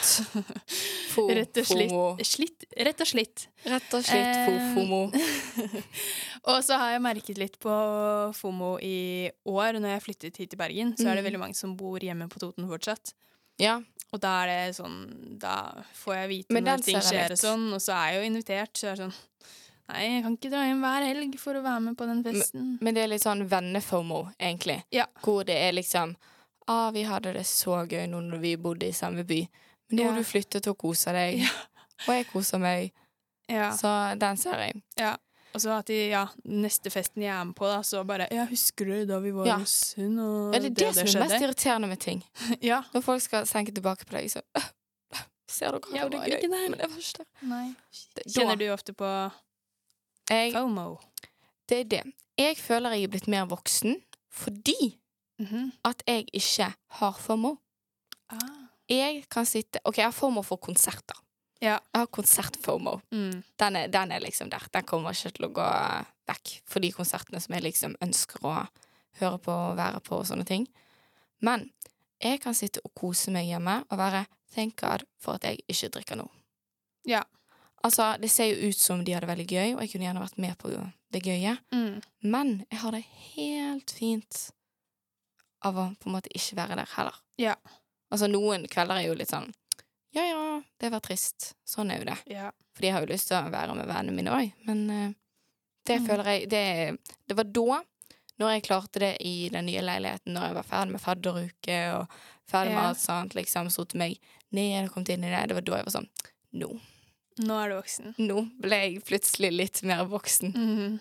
Speaker 2: Fo-
Speaker 6: Rett og slett.
Speaker 2: FOMO.
Speaker 6: Slitt, rett og slett.
Speaker 2: Rett og slett fo-
Speaker 6: Eh,
Speaker 2: FOMO.
Speaker 6: og så har jeg merket litt på FOMO i år. Når jeg flyttet hit til Bergen, så er det
Speaker 2: Mm.
Speaker 6: veldig mange som bor hjemme på Toten fortsatt.
Speaker 2: *laughs* Ja.
Speaker 6: Og da er det sånn Da får jeg vite
Speaker 2: Men den
Speaker 6: når ting
Speaker 2: ser jeg
Speaker 6: skjer
Speaker 2: litt.
Speaker 6: og sånn, og så er jeg jo invitert, så jeg er sånn Nei, jeg kan ikke dra hjem hver helg for å være med på den festen.
Speaker 2: Men det er litt sånn vennefomo, egentlig.
Speaker 6: Ja.
Speaker 2: Hvor det er liksom ah, vi hadde det så gøy nå når vi bodde i samme by. Men nå
Speaker 6: Ja.
Speaker 2: har du flyttet og koser deg.
Speaker 6: Ja.
Speaker 2: *laughs* Og jeg koser meg.
Speaker 6: Ja.
Speaker 2: Så den ser jeg.
Speaker 6: Og så at de, ja, neste festen jeg er med på, da, så bare Ja, husker du da vi var
Speaker 2: Ja.
Speaker 6: hos hun, og
Speaker 2: Ja, det er det,
Speaker 6: og det
Speaker 2: som er mest
Speaker 6: skjedde?
Speaker 2: irriterende med ting.
Speaker 6: *laughs* Ja.
Speaker 2: Når folk skal senke tilbake på deg, så *laughs* Ser dere,
Speaker 6: Jeg
Speaker 2: hadde
Speaker 6: var
Speaker 2: det gøy.
Speaker 6: ikke der.
Speaker 2: Men jeg var ikke der.
Speaker 6: Nei.
Speaker 2: Det- da-
Speaker 6: Kjenner du ofte på
Speaker 2: Jeg,
Speaker 6: FOMO?
Speaker 2: det er det. Jeg føler jeg er blitt mer voksen fordi
Speaker 6: Mhm.
Speaker 2: at jeg ikke har FOMO.
Speaker 6: ah.
Speaker 2: Jeg kan sitte OK, jeg har FOMO for konserter.
Speaker 6: Ja.
Speaker 2: Jeg har konsert-FOMO.
Speaker 6: mm.
Speaker 2: den er, den er liksom der. Den kommer ikke til å gå eh, vekk for de konsertene som jeg liksom ønsker å høre på og være på og sånne ting. Men jeg kan sitte og kose meg hjemme og være thank god for at jeg ikke drikker nå.
Speaker 6: Ja.
Speaker 2: Altså, det ser jo ut som de har det veldig gøy, og jeg kunne gjerne vært med på det gøye,
Speaker 6: Mm.
Speaker 2: men jeg har det helt fint av å på en måte ikke være der heller.
Speaker 6: Ja.
Speaker 2: Altså, noen kvelder er jo litt sånn ja ja, det var trist. Sånn er jo det.
Speaker 6: Ja.
Speaker 2: Fordi jeg har jo lyst til å være med vennene mine òg. Men eh, det
Speaker 6: Mm.
Speaker 2: føler jeg det, det var da, når jeg klarte det i den nye leiligheten, når jeg var ferdig med fadderuke og ferdig med
Speaker 6: Ja.
Speaker 2: alt sånt, liksom sotet meg ned og kommet inn i det, det var da jeg var sånn Nå.
Speaker 6: Nå er du voksen.
Speaker 2: Nå ble jeg plutselig litt mer voksen.
Speaker 6: Mhm.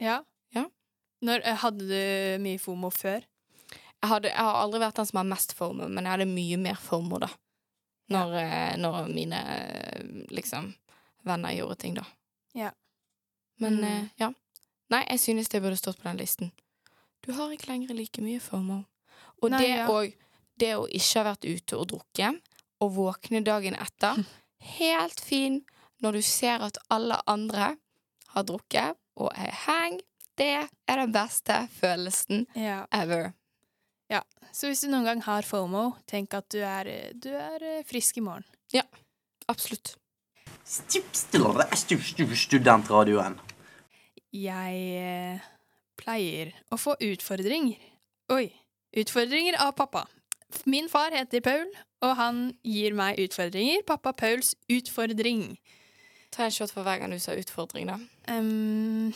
Speaker 6: Ja.
Speaker 2: Ja.
Speaker 6: Når, eh, hadde du mye FOMO før?
Speaker 2: Jeg, hadde, jeg har aldri vært den som har mest former, men jeg hadde mye mer former da. Når, eh, når mine eh, liksom venner gjorde ting, da.
Speaker 6: Ja.
Speaker 2: Men
Speaker 6: Mm.
Speaker 2: eh, ja. Nei, jeg synes det burde stått på den listen. Du har ikke lenger like mye former. Og
Speaker 6: Nei,
Speaker 2: det,
Speaker 6: ja.
Speaker 2: og det å ikke ha vært ute og drukke, og våkne dagen etter,
Speaker 6: *laughs*
Speaker 2: helt fin når du ser at alle andre har drukket og er hang, det er den beste følelsen
Speaker 6: Ja.
Speaker 2: ever.
Speaker 6: Så hvis du noen gang har FOMO, tenk at du er, eh, du er eh, frisk i morgen.
Speaker 2: Absolutt.
Speaker 8: Studentradioen.
Speaker 6: Jeg eh, pleier å få utfordringer. Oi. Utfordringer av pappa. Min far heter Paul, og han gir meg utfordringer. Pappa Pauls utfordring.
Speaker 2: Ta en shot for hver gang du sa utfordring, da.
Speaker 6: Ehm,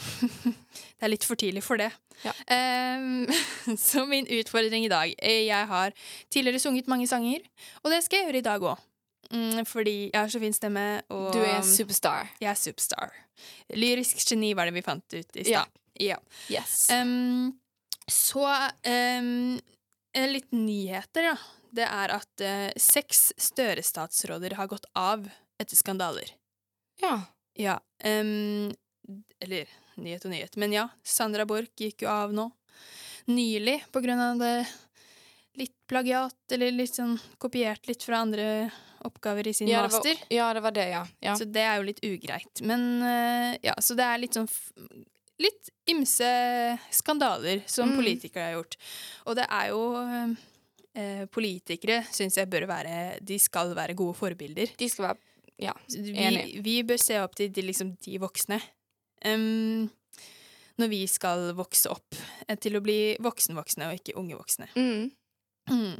Speaker 6: *laughs* det er litt for tidlig for det.
Speaker 2: Ja.
Speaker 6: Ehm, *laughs* så min utfordring i dag eh, Jeg har tidligere sunget mange sanger, og det skal jeg gjøre i dag òg. Mm, fordi jeg har så fin stemme, og um,
Speaker 2: Du er en superstar.
Speaker 6: jeg er superstar. Lyrisk geni var det vi fant ut i
Speaker 2: Ja.
Speaker 6: stad. Ja.
Speaker 2: Yes.
Speaker 6: Ehm, så ehm, en liten nyheter, da. Det er at eh, seks Støre-statsråder har gått av etter skandaler.
Speaker 2: Ja.
Speaker 6: Ja. ehm, d- eller nyhet og nyhet, men ja. Sandra Borch gikk jo av nå. Nylig, på grunn av det litt plagiat, eller litt sånn kopiert litt fra andre oppgaver i sin
Speaker 2: Ja, det
Speaker 6: master.
Speaker 2: var, ja, det var det, ja. ja.
Speaker 6: Så det er jo litt ugreit. Men eh, ja, så det er litt sånn f litt ymse skandaler som
Speaker 2: Mm.
Speaker 6: politikere har gjort. Og det er jo eh, Politikere syns jeg bør være De skal være gode forbilder.
Speaker 2: De skal være Ja.
Speaker 6: Vi,
Speaker 2: Enig.
Speaker 6: vi bør se opp til de, liksom, de voksne. Em, når vi skal vokse opp eh, til å bli voksenvoksne og ikke unge voksne.
Speaker 2: Mm.
Speaker 6: Mm.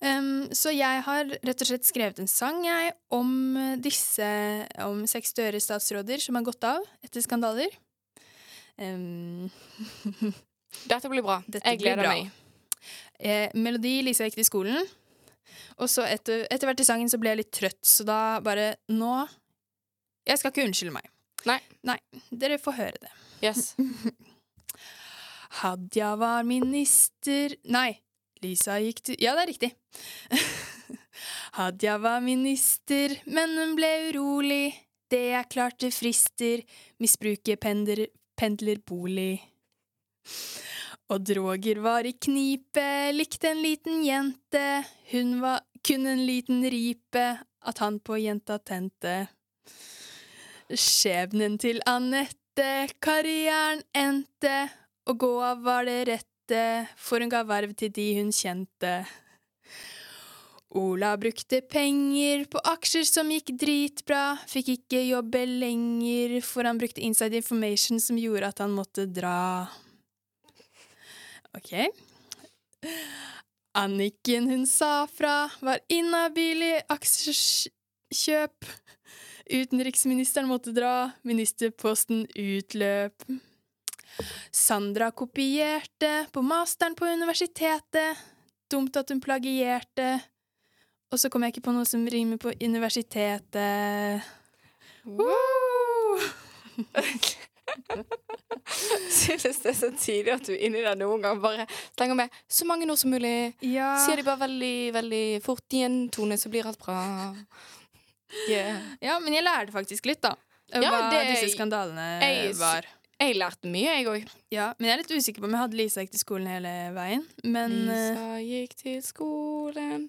Speaker 6: Um, så jeg har rett og slett skrevet en sang jeg, om eh, disse om seks døre statsråder som har gått av etter skandaler. Um,
Speaker 2: Dette blir bra.
Speaker 6: Dette
Speaker 2: jeg
Speaker 6: blir
Speaker 2: gleder
Speaker 6: bra.
Speaker 2: meg.
Speaker 6: eh, melodi Lisa gikk til skolen. Og så etter, etter hvert i sangen så ble jeg litt trøtt, så da bare Nå Jeg skal ikke unnskylde meg.
Speaker 2: Nei.
Speaker 6: Dere får høre det. *laughs*
Speaker 2: Yes.
Speaker 6: Hadia var minister Nei, Lisa gikk til Ja, det er riktig. *laughs* Hadia var minister, men hun ble urolig. Det er klart det frister. Misbruket pendler, pendler bolig. Og Droger var i knipe, likte en liten jente. Hun var kun en liten ripe, at han på jenta tente. Skjebnen til Anette, karrieren endte. Å gå av var det rette, for hun ga verv til de hun kjente. Ola brukte penger på aksjer som gikk dritbra, fikk ikke jobbe lenger, for han brukte inside information som gjorde at han måtte dra. Ok. Anniken hun sa fra, var inhabil i aksjekjøp. Utenriksministeren måtte dra, ministerposten utløp. Sandra kopierte på masteren på universitetet. Dumt at hun plagierte. Og så kom jeg ikke på noe som rimer på universitetet. Woo!
Speaker 2: Synes *laughs* det er så tidlig at du inni der noen gang bare slenger med så mange ord som mulig.
Speaker 6: Ja.
Speaker 2: Sier de bare veldig, veldig fort i en tone, så blir alt bra. Yeah.
Speaker 6: ja, men jeg lærte faktisk litt, da.
Speaker 2: Ja,
Speaker 6: hva
Speaker 2: det-
Speaker 6: disse skandalene
Speaker 2: jeg s-
Speaker 6: var.
Speaker 2: Jeg lærte mye, jeg òg.
Speaker 6: Ja, men jeg er litt usikker på om jeg hadde Lisa gikk til skolen hele veien. Men eh,
Speaker 2: Lisa gikk til skolen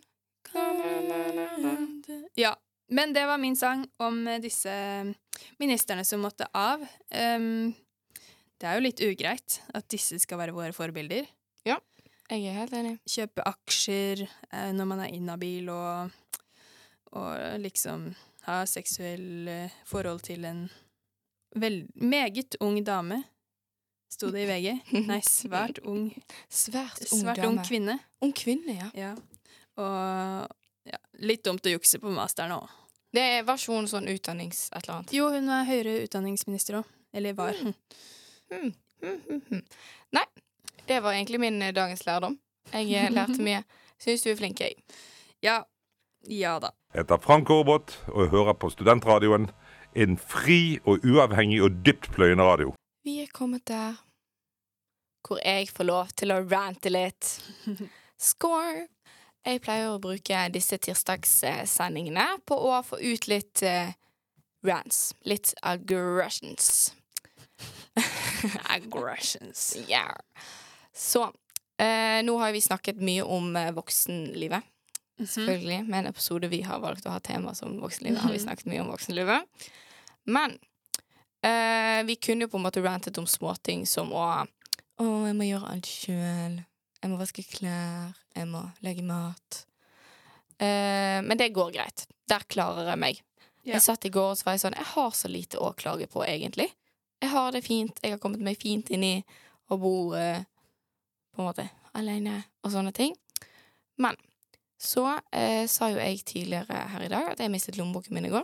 Speaker 6: eh, Ja. Men det var min sang om eh, disse ministerne som måtte av. Ehm, det er jo litt ugreit at disse skal være våre forbilder.
Speaker 2: Jeg er helt enig.
Speaker 6: Kjøpe aksjer eh, når man er inhabil, og, og liksom ha seksuell eh, forhold til en vel, meget ung dame, sto det i
Speaker 2: *laughs*
Speaker 6: VG. Nei, svært ung.
Speaker 2: Svært ung
Speaker 6: Svært
Speaker 2: dame.
Speaker 6: ung kvinne.
Speaker 2: Ung kvinne, ja.
Speaker 6: Ja. Og ja, litt dumt å jukse på masteren òg.
Speaker 2: Det er- var ikke hun sånn utdannings... et eller annet?
Speaker 6: Jo, hun er høyere utdanningsminister òg. Eller var.
Speaker 2: Mm, mm, mm. Nei, det var egentlig min eh, dagens lærdom. Jeg eh, lærte mye. Syns du er flink, jeg.
Speaker 6: Ja. Ja da.
Speaker 9: Jeg heter Frank Aarbot, og jeg hører på Studentradioen. En fri og uavhengig og dyptpløyende radio.
Speaker 2: Vi er kommet der hvor jeg får lov til å rante litt. Score! Jeg pleier å bruke disse tirsdagssendingene på å få ut litt eh, rants. Litt aggressions.
Speaker 6: Aggressions.
Speaker 2: *laughs* Yeah. Så eh, nå har vi snakket mye om eh, voksenlivet,
Speaker 6: Mm. Mhm.
Speaker 2: selvfølgelig. Med en episode vi har valgt å ha tema som voksenlivet, har vi snakket mye om voksenlivet. Men eh, vi kunne jo på en måte rantet om småting som å Å, jeg må gjøre alt sjøl. Jeg må vaske klær. Jeg må lage mat. Eh, men det går greit. Der klarer jeg meg.
Speaker 6: Ja.
Speaker 2: Jeg satt i går og så var jeg sånn Jeg har så lite å klage på, egentlig. Jeg har det fint. Jeg har kommet meg fint inn i og bor eh, på en måte alene og sånne ting. Men så eh, sa jo jeg tidligere her i dag at jeg mistet lommeboken min i går.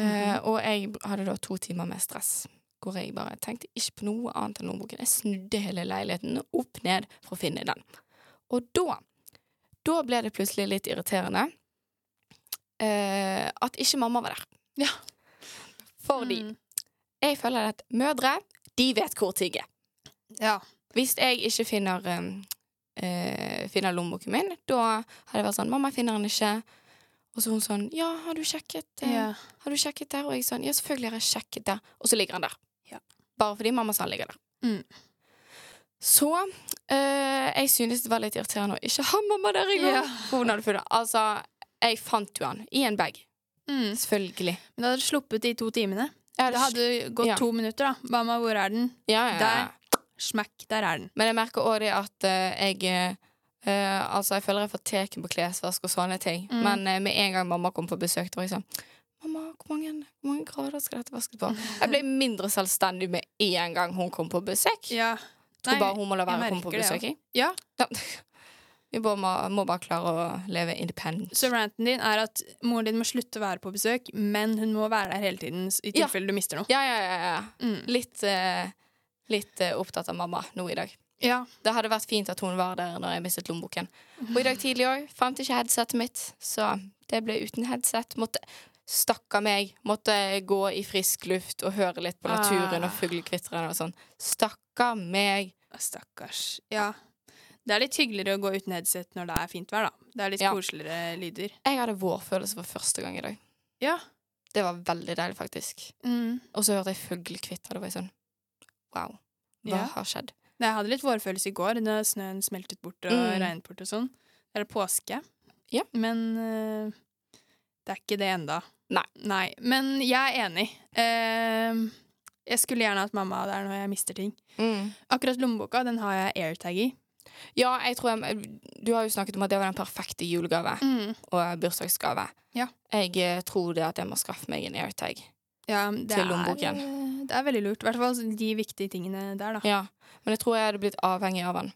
Speaker 2: Eh, og jeg b- hadde da to timer med stress, hvor jeg bare tenkte ikke på noe annet enn lommeboken. Jeg snudde hele leiligheten opp ned for å finne den. Og da, da ble det plutselig litt irriterende eh, at ikke mamma var der.
Speaker 6: Ja.
Speaker 2: Fordi
Speaker 6: Mm.
Speaker 2: jeg føler at mødre, de vet hvor ting er.
Speaker 6: Ja.
Speaker 2: Hvis jeg ikke finner um, eh, Finner lommeboken min, da har det vært sånn 'Mamma, jeg finner den ikke.' Og så hun sånn 'Ja, har du sjekket, eh,
Speaker 6: ja.
Speaker 2: har du sjekket der?' Og jeg sånn 'Ja, selvfølgelig har jeg sjekket der.' Og så ligger han der.
Speaker 6: Ja.
Speaker 2: Bare fordi mamma sa han ligger der.
Speaker 6: Mm.
Speaker 2: Så eh, jeg synes det var litt irriterende å ikke ha mamma der i går.
Speaker 6: Ja.
Speaker 2: For hun hadde funnet Altså, jeg fant jo han i en bag.
Speaker 6: Mm.
Speaker 2: Selvfølgelig.
Speaker 6: Men da hadde du sluppet de to timene.
Speaker 2: Jeg
Speaker 6: Det hadde gått
Speaker 2: Ja.
Speaker 6: to minutter, da. Mamma, hvor er den?
Speaker 2: ja, ja, ja.
Speaker 6: Der. Smack, der er den.
Speaker 2: Men jeg merker òg det at eh, jeg eh, Altså, jeg føler jeg får teken på klesvask og sånne ting.
Speaker 6: Mm.
Speaker 2: Men eh, med en gang mamma kom på besøk, da var jeg sånn Mamma, hvor mange, hvor mange grader skal dette vaskes på? Jeg ble mindre selvstendig med en gang hun kom på besøk.
Speaker 6: Ja.
Speaker 2: Tror bare hun må la
Speaker 6: jeg
Speaker 2: være å komme på
Speaker 6: merker det,
Speaker 2: besøk. jeg.
Speaker 6: ja.
Speaker 2: Ja. *laughs* Vi bare må, må bare klare å leve independent.
Speaker 6: Så ranten din er at moren din må slutte å være på besøk, men hun må være der hele tiden s- i
Speaker 2: Ja.
Speaker 6: tilfelle du mister noe.
Speaker 2: Ja, ja, ja. ja.
Speaker 6: Mm.
Speaker 2: Litt, eh, litt eh, opptatt av mamma nå i dag.
Speaker 6: Ja.
Speaker 2: Det hadde vært fint at hun var der når jeg mistet lommeboken. Og i dag tidlig òg fant ikke headsetet mitt, så det ble uten headset. Måtte, stakkar meg. Måtte gå i frisk luft og høre litt på naturen
Speaker 6: Ah.
Speaker 2: og fuglekvitrene og sånn. Stakkar meg.
Speaker 6: Stakkars. Ja. Det er litt hyggeligere å gå uten headset når det er fint vær, da. Det er litt
Speaker 2: Ja.
Speaker 6: koseligere lyder.
Speaker 2: Jeg hadde vårfølelse for første gang i dag.
Speaker 6: Ja.
Speaker 2: Det var veldig deilig, faktisk.
Speaker 6: Mm.
Speaker 2: Og så hørte jeg fuglekvitter. Det var jeg sånn wow. Hva
Speaker 6: Ja.
Speaker 2: har skjedd?
Speaker 6: Nei, Jeg hadde litt vårfølelse i går da snøen smeltet bort og
Speaker 2: Mm.
Speaker 6: regnet bort og sånn. Det er påske.
Speaker 2: Ja.
Speaker 6: Men eh, det er ikke det enda.
Speaker 2: Nei.
Speaker 6: Men jeg er enig. Eh, jeg skulle gjerne hatt mamma der når jeg mister ting.
Speaker 2: Mm.
Speaker 6: Akkurat lommeboka, den har jeg airtag i.
Speaker 2: Ja, jeg tror jeg, Du har jo snakket om at det var den perfekte julegave og bursdagsgave.
Speaker 6: Mm. Ja.
Speaker 2: Jeg eh, tror det at jeg må skaffe meg en airtag.
Speaker 6: Ja, det
Speaker 2: Til
Speaker 6: er, eh,
Speaker 2: lommeboken.
Speaker 6: Det er veldig lurt. I hvert fall de viktige tingene der, da.
Speaker 2: Ja, men jeg tror jeg hadde blitt avhengig av den.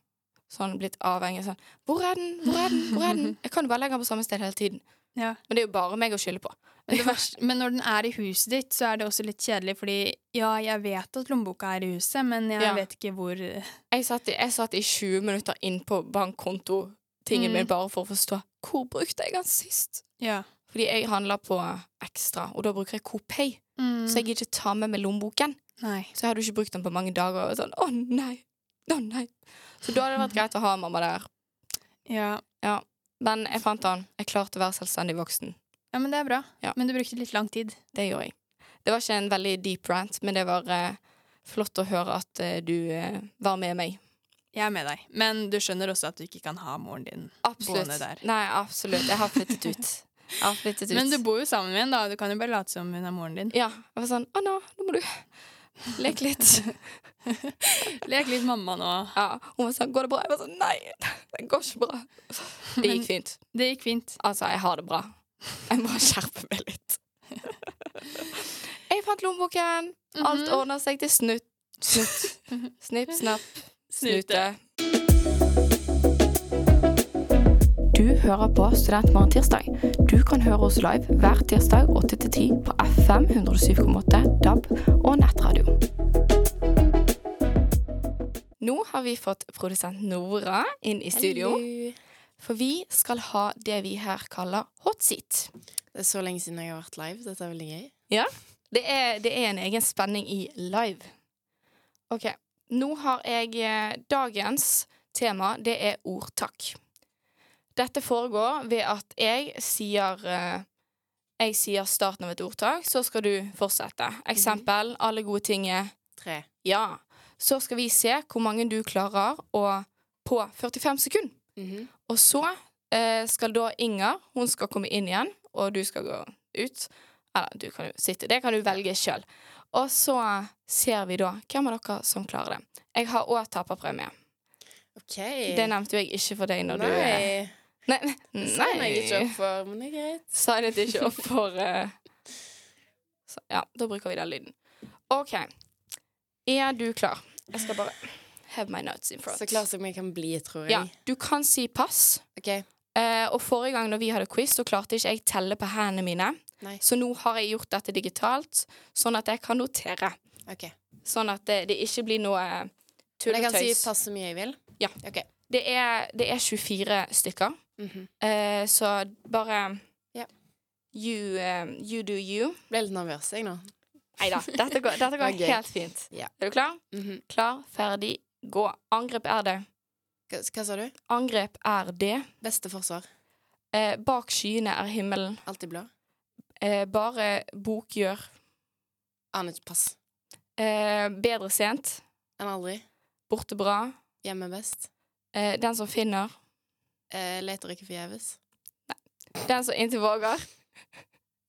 Speaker 2: Sånn blitt avhengig sånn Hvor er den? Hvor er den? Hvor er
Speaker 6: *laughs*
Speaker 2: den? Jeg kan jo bare legge den på samme sted hele tiden.
Speaker 6: Ja.
Speaker 2: Men det er jo bare meg å skylde på.
Speaker 6: Men, det verste, men når den er i huset ditt, så er det også litt kjedelig, fordi ja, jeg vet at lommeboka er i huset, men jeg
Speaker 2: Ja.
Speaker 6: vet ikke hvor eh,
Speaker 2: Jeg satt, i, jeg satt i 20 minutter inn på bankkonto-tingen
Speaker 6: Mm.
Speaker 2: min bare for å forstå hvor brukte jeg den sist.
Speaker 6: Ja.
Speaker 2: Fordi jeg handler på ekstra, og da bruker jeg Coopay. Så jeg gidder ikke ta med meg lommeboken.
Speaker 6: Mm, Nei.
Speaker 2: Så jeg hadde jo ikke brukt den på mange dager. Og sånn, å nei, å nei. Så da hadde det vært greit å ha mamma der.
Speaker 6: Ja.
Speaker 2: Men jeg fant den. Jeg klarte å være selvstendig voksen.
Speaker 6: ja, men det er bra.
Speaker 2: Ja.
Speaker 6: Men du brukte litt lang tid.
Speaker 2: Det gjorde jeg. Det var ikke en veldig deep rant, men det var eh, flott å høre at eh, du eh, var med meg.
Speaker 6: Jeg er med deg. Men du skjønner også at du ikke kan ha moren din.
Speaker 2: Absolutt.
Speaker 6: Boende der.
Speaker 2: Nei, absolutt. Jeg har flyttet ut. Jeg har flyttet ut.
Speaker 6: *laughs* Men du bor jo sammen med henne, da. Du kan jo bare late som hun er moren din.
Speaker 2: Ja. Jeg var sånn Å, nå, nå må du leke litt.
Speaker 6: Lek litt mamma nå.
Speaker 2: Ja. Hun var sånn Går det bra? Jeg var sånn Nei, det går ikke bra. Det
Speaker 6: Men-
Speaker 2: gikk fint.
Speaker 6: Det gikk fint.
Speaker 2: Altså, jeg har det bra. Jeg må skjerpe meg litt. Jeg fant lommeboken.
Speaker 6: Mhm.
Speaker 2: Alt ordner seg til snutt. Snutt. Snipp, snapp, snute.
Speaker 7: Du hører på Studentmorgen tirsdag. Du kan høre oss live hver tirsdag 8-10 på FM 107,8 DAB og nettradio.
Speaker 2: Nå har vi fått produsent Nora inn i studio. For vi skal ha det vi her kaller hot seat.
Speaker 10: Det er så lenge siden jeg har vært live. Dette er veldig gøy.
Speaker 2: Det er, det er en egen spenning i live. OK. Nå har jeg eh, dagens tema. Det er ordtak. Dette foregår ved at jeg sier eh, Jeg sier starten av et ordtak, så skal du fortsette. Eksempel. Alle gode ting er
Speaker 10: Mhm. Tre.
Speaker 2: ja. Så skal vi se hvor mange du klarer å på 45 sekunder.
Speaker 10: Mhm.
Speaker 2: Og så eh, skal da Inger Hun skal komme inn igjen, og du skal gå ut. Eller du kan jo sitte. Det kan du velge sjøl. Og så ser vi da hvem av dere som klarer det. Jeg har òg taperpremie.
Speaker 10: OK.
Speaker 2: Det nevnte jo jeg ikke for deg når du eh, Nei.
Speaker 10: Nei.
Speaker 2: nei,
Speaker 10: Det signer jeg ikke opp for, men det er greit.
Speaker 2: Signet ikke opp for eh, så, Ja, da bruker vi den lyden. OK. Er du klar? Jeg skal bare have my notes in front.
Speaker 10: Så klar som jeg kan bli, tror jeg.
Speaker 2: Ja, du kan si pass.
Speaker 10: OK.
Speaker 2: Eh, og forrige gang når vi hadde quiz, så klarte ikke jeg telle på hendene mine.
Speaker 10: Nei.
Speaker 2: Så nå har jeg gjort dette digitalt, sånn at jeg kan notere.
Speaker 10: ok.
Speaker 2: Sånn at det, det ikke blir noe eh, tull
Speaker 10: Men jeg
Speaker 2: og
Speaker 10: kan si
Speaker 2: tøys.
Speaker 10: pass så mye jeg vil.
Speaker 2: Ja.
Speaker 10: OK.
Speaker 2: Det er, det er 24 stykker,
Speaker 10: Mhm.
Speaker 2: eh, så bare
Speaker 10: Ja.
Speaker 2: you, eh, you do you.
Speaker 10: Ble litt nervøs, jeg nå.
Speaker 2: Nei da, dette går, dette går
Speaker 10: Det var gøy.
Speaker 2: helt fint.
Speaker 10: Ja.
Speaker 2: Er du klar?
Speaker 10: Mhm.
Speaker 2: Klar, ferdig, gå. Angrep er det.
Speaker 10: hva, hva sa du?
Speaker 2: Angrep er det.
Speaker 10: Beste forsvar.
Speaker 2: Eh, bak skyene er himmelen.
Speaker 10: Alltid blå.
Speaker 2: Eh, bare bokgjør.
Speaker 10: Aner ikke pass.
Speaker 2: Eh, bedre sent.
Speaker 10: Enn aldri.
Speaker 2: Borte bra.
Speaker 10: Hjemme best.
Speaker 2: Eh, den som finner.
Speaker 10: Eh, leter ikke forgjeves.
Speaker 2: Den som inntil våger.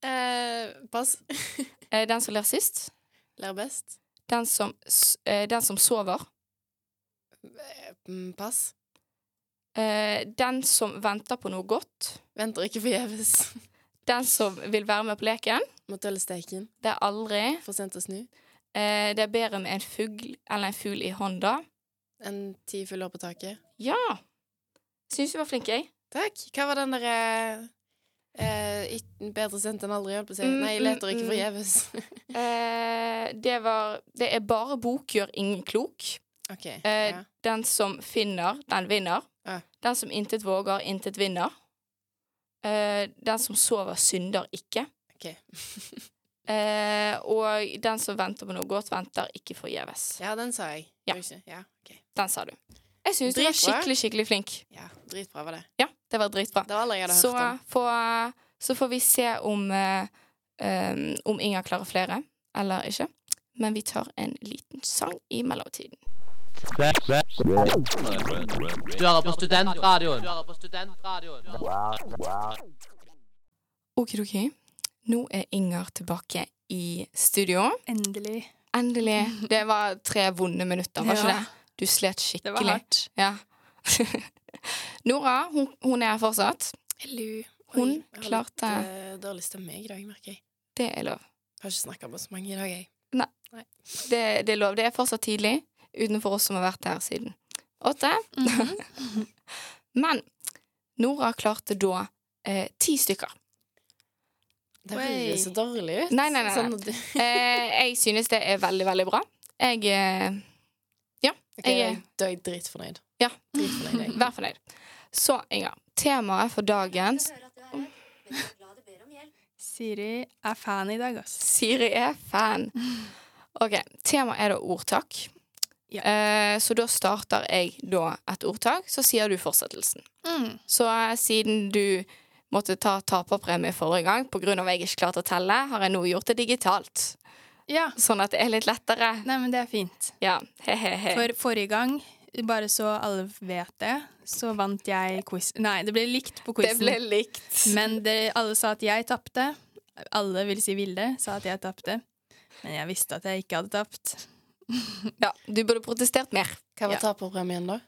Speaker 10: Eh, pass. *laughs*
Speaker 2: Eh, den som ler sist.
Speaker 10: Ler best.
Speaker 2: Den som, s- eh, den som sover.
Speaker 10: Mm, Pass.
Speaker 2: Eh, den som venter på noe godt.
Speaker 10: Venter ikke forgjeves. *laughs*
Speaker 2: Den som vil være med på leken.
Speaker 10: Må tølle steken.
Speaker 2: Det er aldri.
Speaker 10: For sent å snu.
Speaker 2: Eh, det er bedre med en fugl eller en fugl i hånda.
Speaker 10: En ti fulle år på taket.
Speaker 2: Ja! Syns du var flink, jeg.
Speaker 10: Takk. Hva var den derre eh, ikke- Bedre sendt enn aldri, holdt på å si.
Speaker 2: Mm,
Speaker 10: Nei,
Speaker 2: mm,
Speaker 10: leter ikke
Speaker 2: mm.
Speaker 10: forgjeves.
Speaker 2: Eh, det var Det er bare bok gjør ingen klok.
Speaker 10: OK.
Speaker 2: Eh,
Speaker 10: ja.
Speaker 2: Den som finner, den vinner.
Speaker 10: Ja.
Speaker 2: Den som intet våger, intet vinner. Eh, den som sover, synder ikke.
Speaker 10: Ok.
Speaker 2: Eh, og den som venter på noe godt, venter ikke forgjeves.
Speaker 10: ja, den sa jeg.
Speaker 2: Ja.
Speaker 10: Gjorde ikke? ja ok.
Speaker 2: Den sa du. Jeg syns du var
Speaker 10: Dritbra.
Speaker 2: skikkelig, skikkelig flink.
Speaker 10: Ja, Dritbra var det.
Speaker 2: Ja, det var dritbra.
Speaker 10: Det var alle jeg hadde
Speaker 2: Så, eh,
Speaker 10: hørt om.
Speaker 2: får- så får vi se om, eh, eh, om Inger klarer flere eller ikke. Men vi tar en liten sang i mellomtiden.
Speaker 11: Du hører på studentradioen.
Speaker 2: Okidoki. Nå er Inger tilbake i studio.
Speaker 6: Endelig.
Speaker 2: Endelig. Det var tre vonde minutter, var ikke
Speaker 6: Ja.
Speaker 2: det? Du slet skikkelig.
Speaker 6: Det var hardt.
Speaker 2: Ja. *laughs* Nora, hun, hun er her fortsatt.
Speaker 10: Hello.
Speaker 2: Hun
Speaker 10: Oi, jeg har
Speaker 2: klarte-
Speaker 10: litt, eh, dårlig stemme i dag, merker jeg.
Speaker 2: Det er lov.
Speaker 10: Har ikke snakka med så mange i dag, jeg.
Speaker 2: Det, det er lov. Det er fortsatt tidlig utenfor oss som har vært her siden åtte. Mhm. *laughs* Men Nora klarte da eh, ti stykker.
Speaker 10: Det høres så dårlig ut.
Speaker 2: Nei, nei, nei, nei.
Speaker 10: Sånn at du...
Speaker 2: Eh, jeg synes det er veldig, veldig bra. Jeg eh,
Speaker 10: Ok,
Speaker 2: Jeg er- Mhm.
Speaker 10: da er jeg dritfornøyd.
Speaker 2: Ja.
Speaker 10: Dritfornøyd, jeg.
Speaker 2: Vær fornøyd. Så, Inger, temaet for dagens
Speaker 6: Siri er fan i dag, ass.
Speaker 2: Siri er fan. OK. Temaet er da ordtak.
Speaker 6: Ja.
Speaker 2: Eh, så da starter jeg da et ordtak, så sier du fortsettelsen.
Speaker 6: Mm.
Speaker 2: Så eh, siden du måtte ta taperpremie forrige gang pga. at jeg ikke klarte å telle, har jeg nå gjort det digitalt.
Speaker 6: Ja.
Speaker 2: Sånn at det er litt lettere.
Speaker 6: Nei, men det er fint.
Speaker 2: Ja, he-he-he.
Speaker 6: For forrige gang, bare så alle vet det, så vant jeg quiz. Nei, det ble likt på
Speaker 2: Det
Speaker 6: quizen.
Speaker 2: ble likt.
Speaker 6: Men det, alle sa at jeg tapte. Alle, vil si Vilde, sa at jeg tapte. Men jeg visste at jeg ikke hadde tapt.
Speaker 2: Ja, du burde protestert mer.
Speaker 10: Hva var
Speaker 6: Ja.
Speaker 10: taperpremien, da?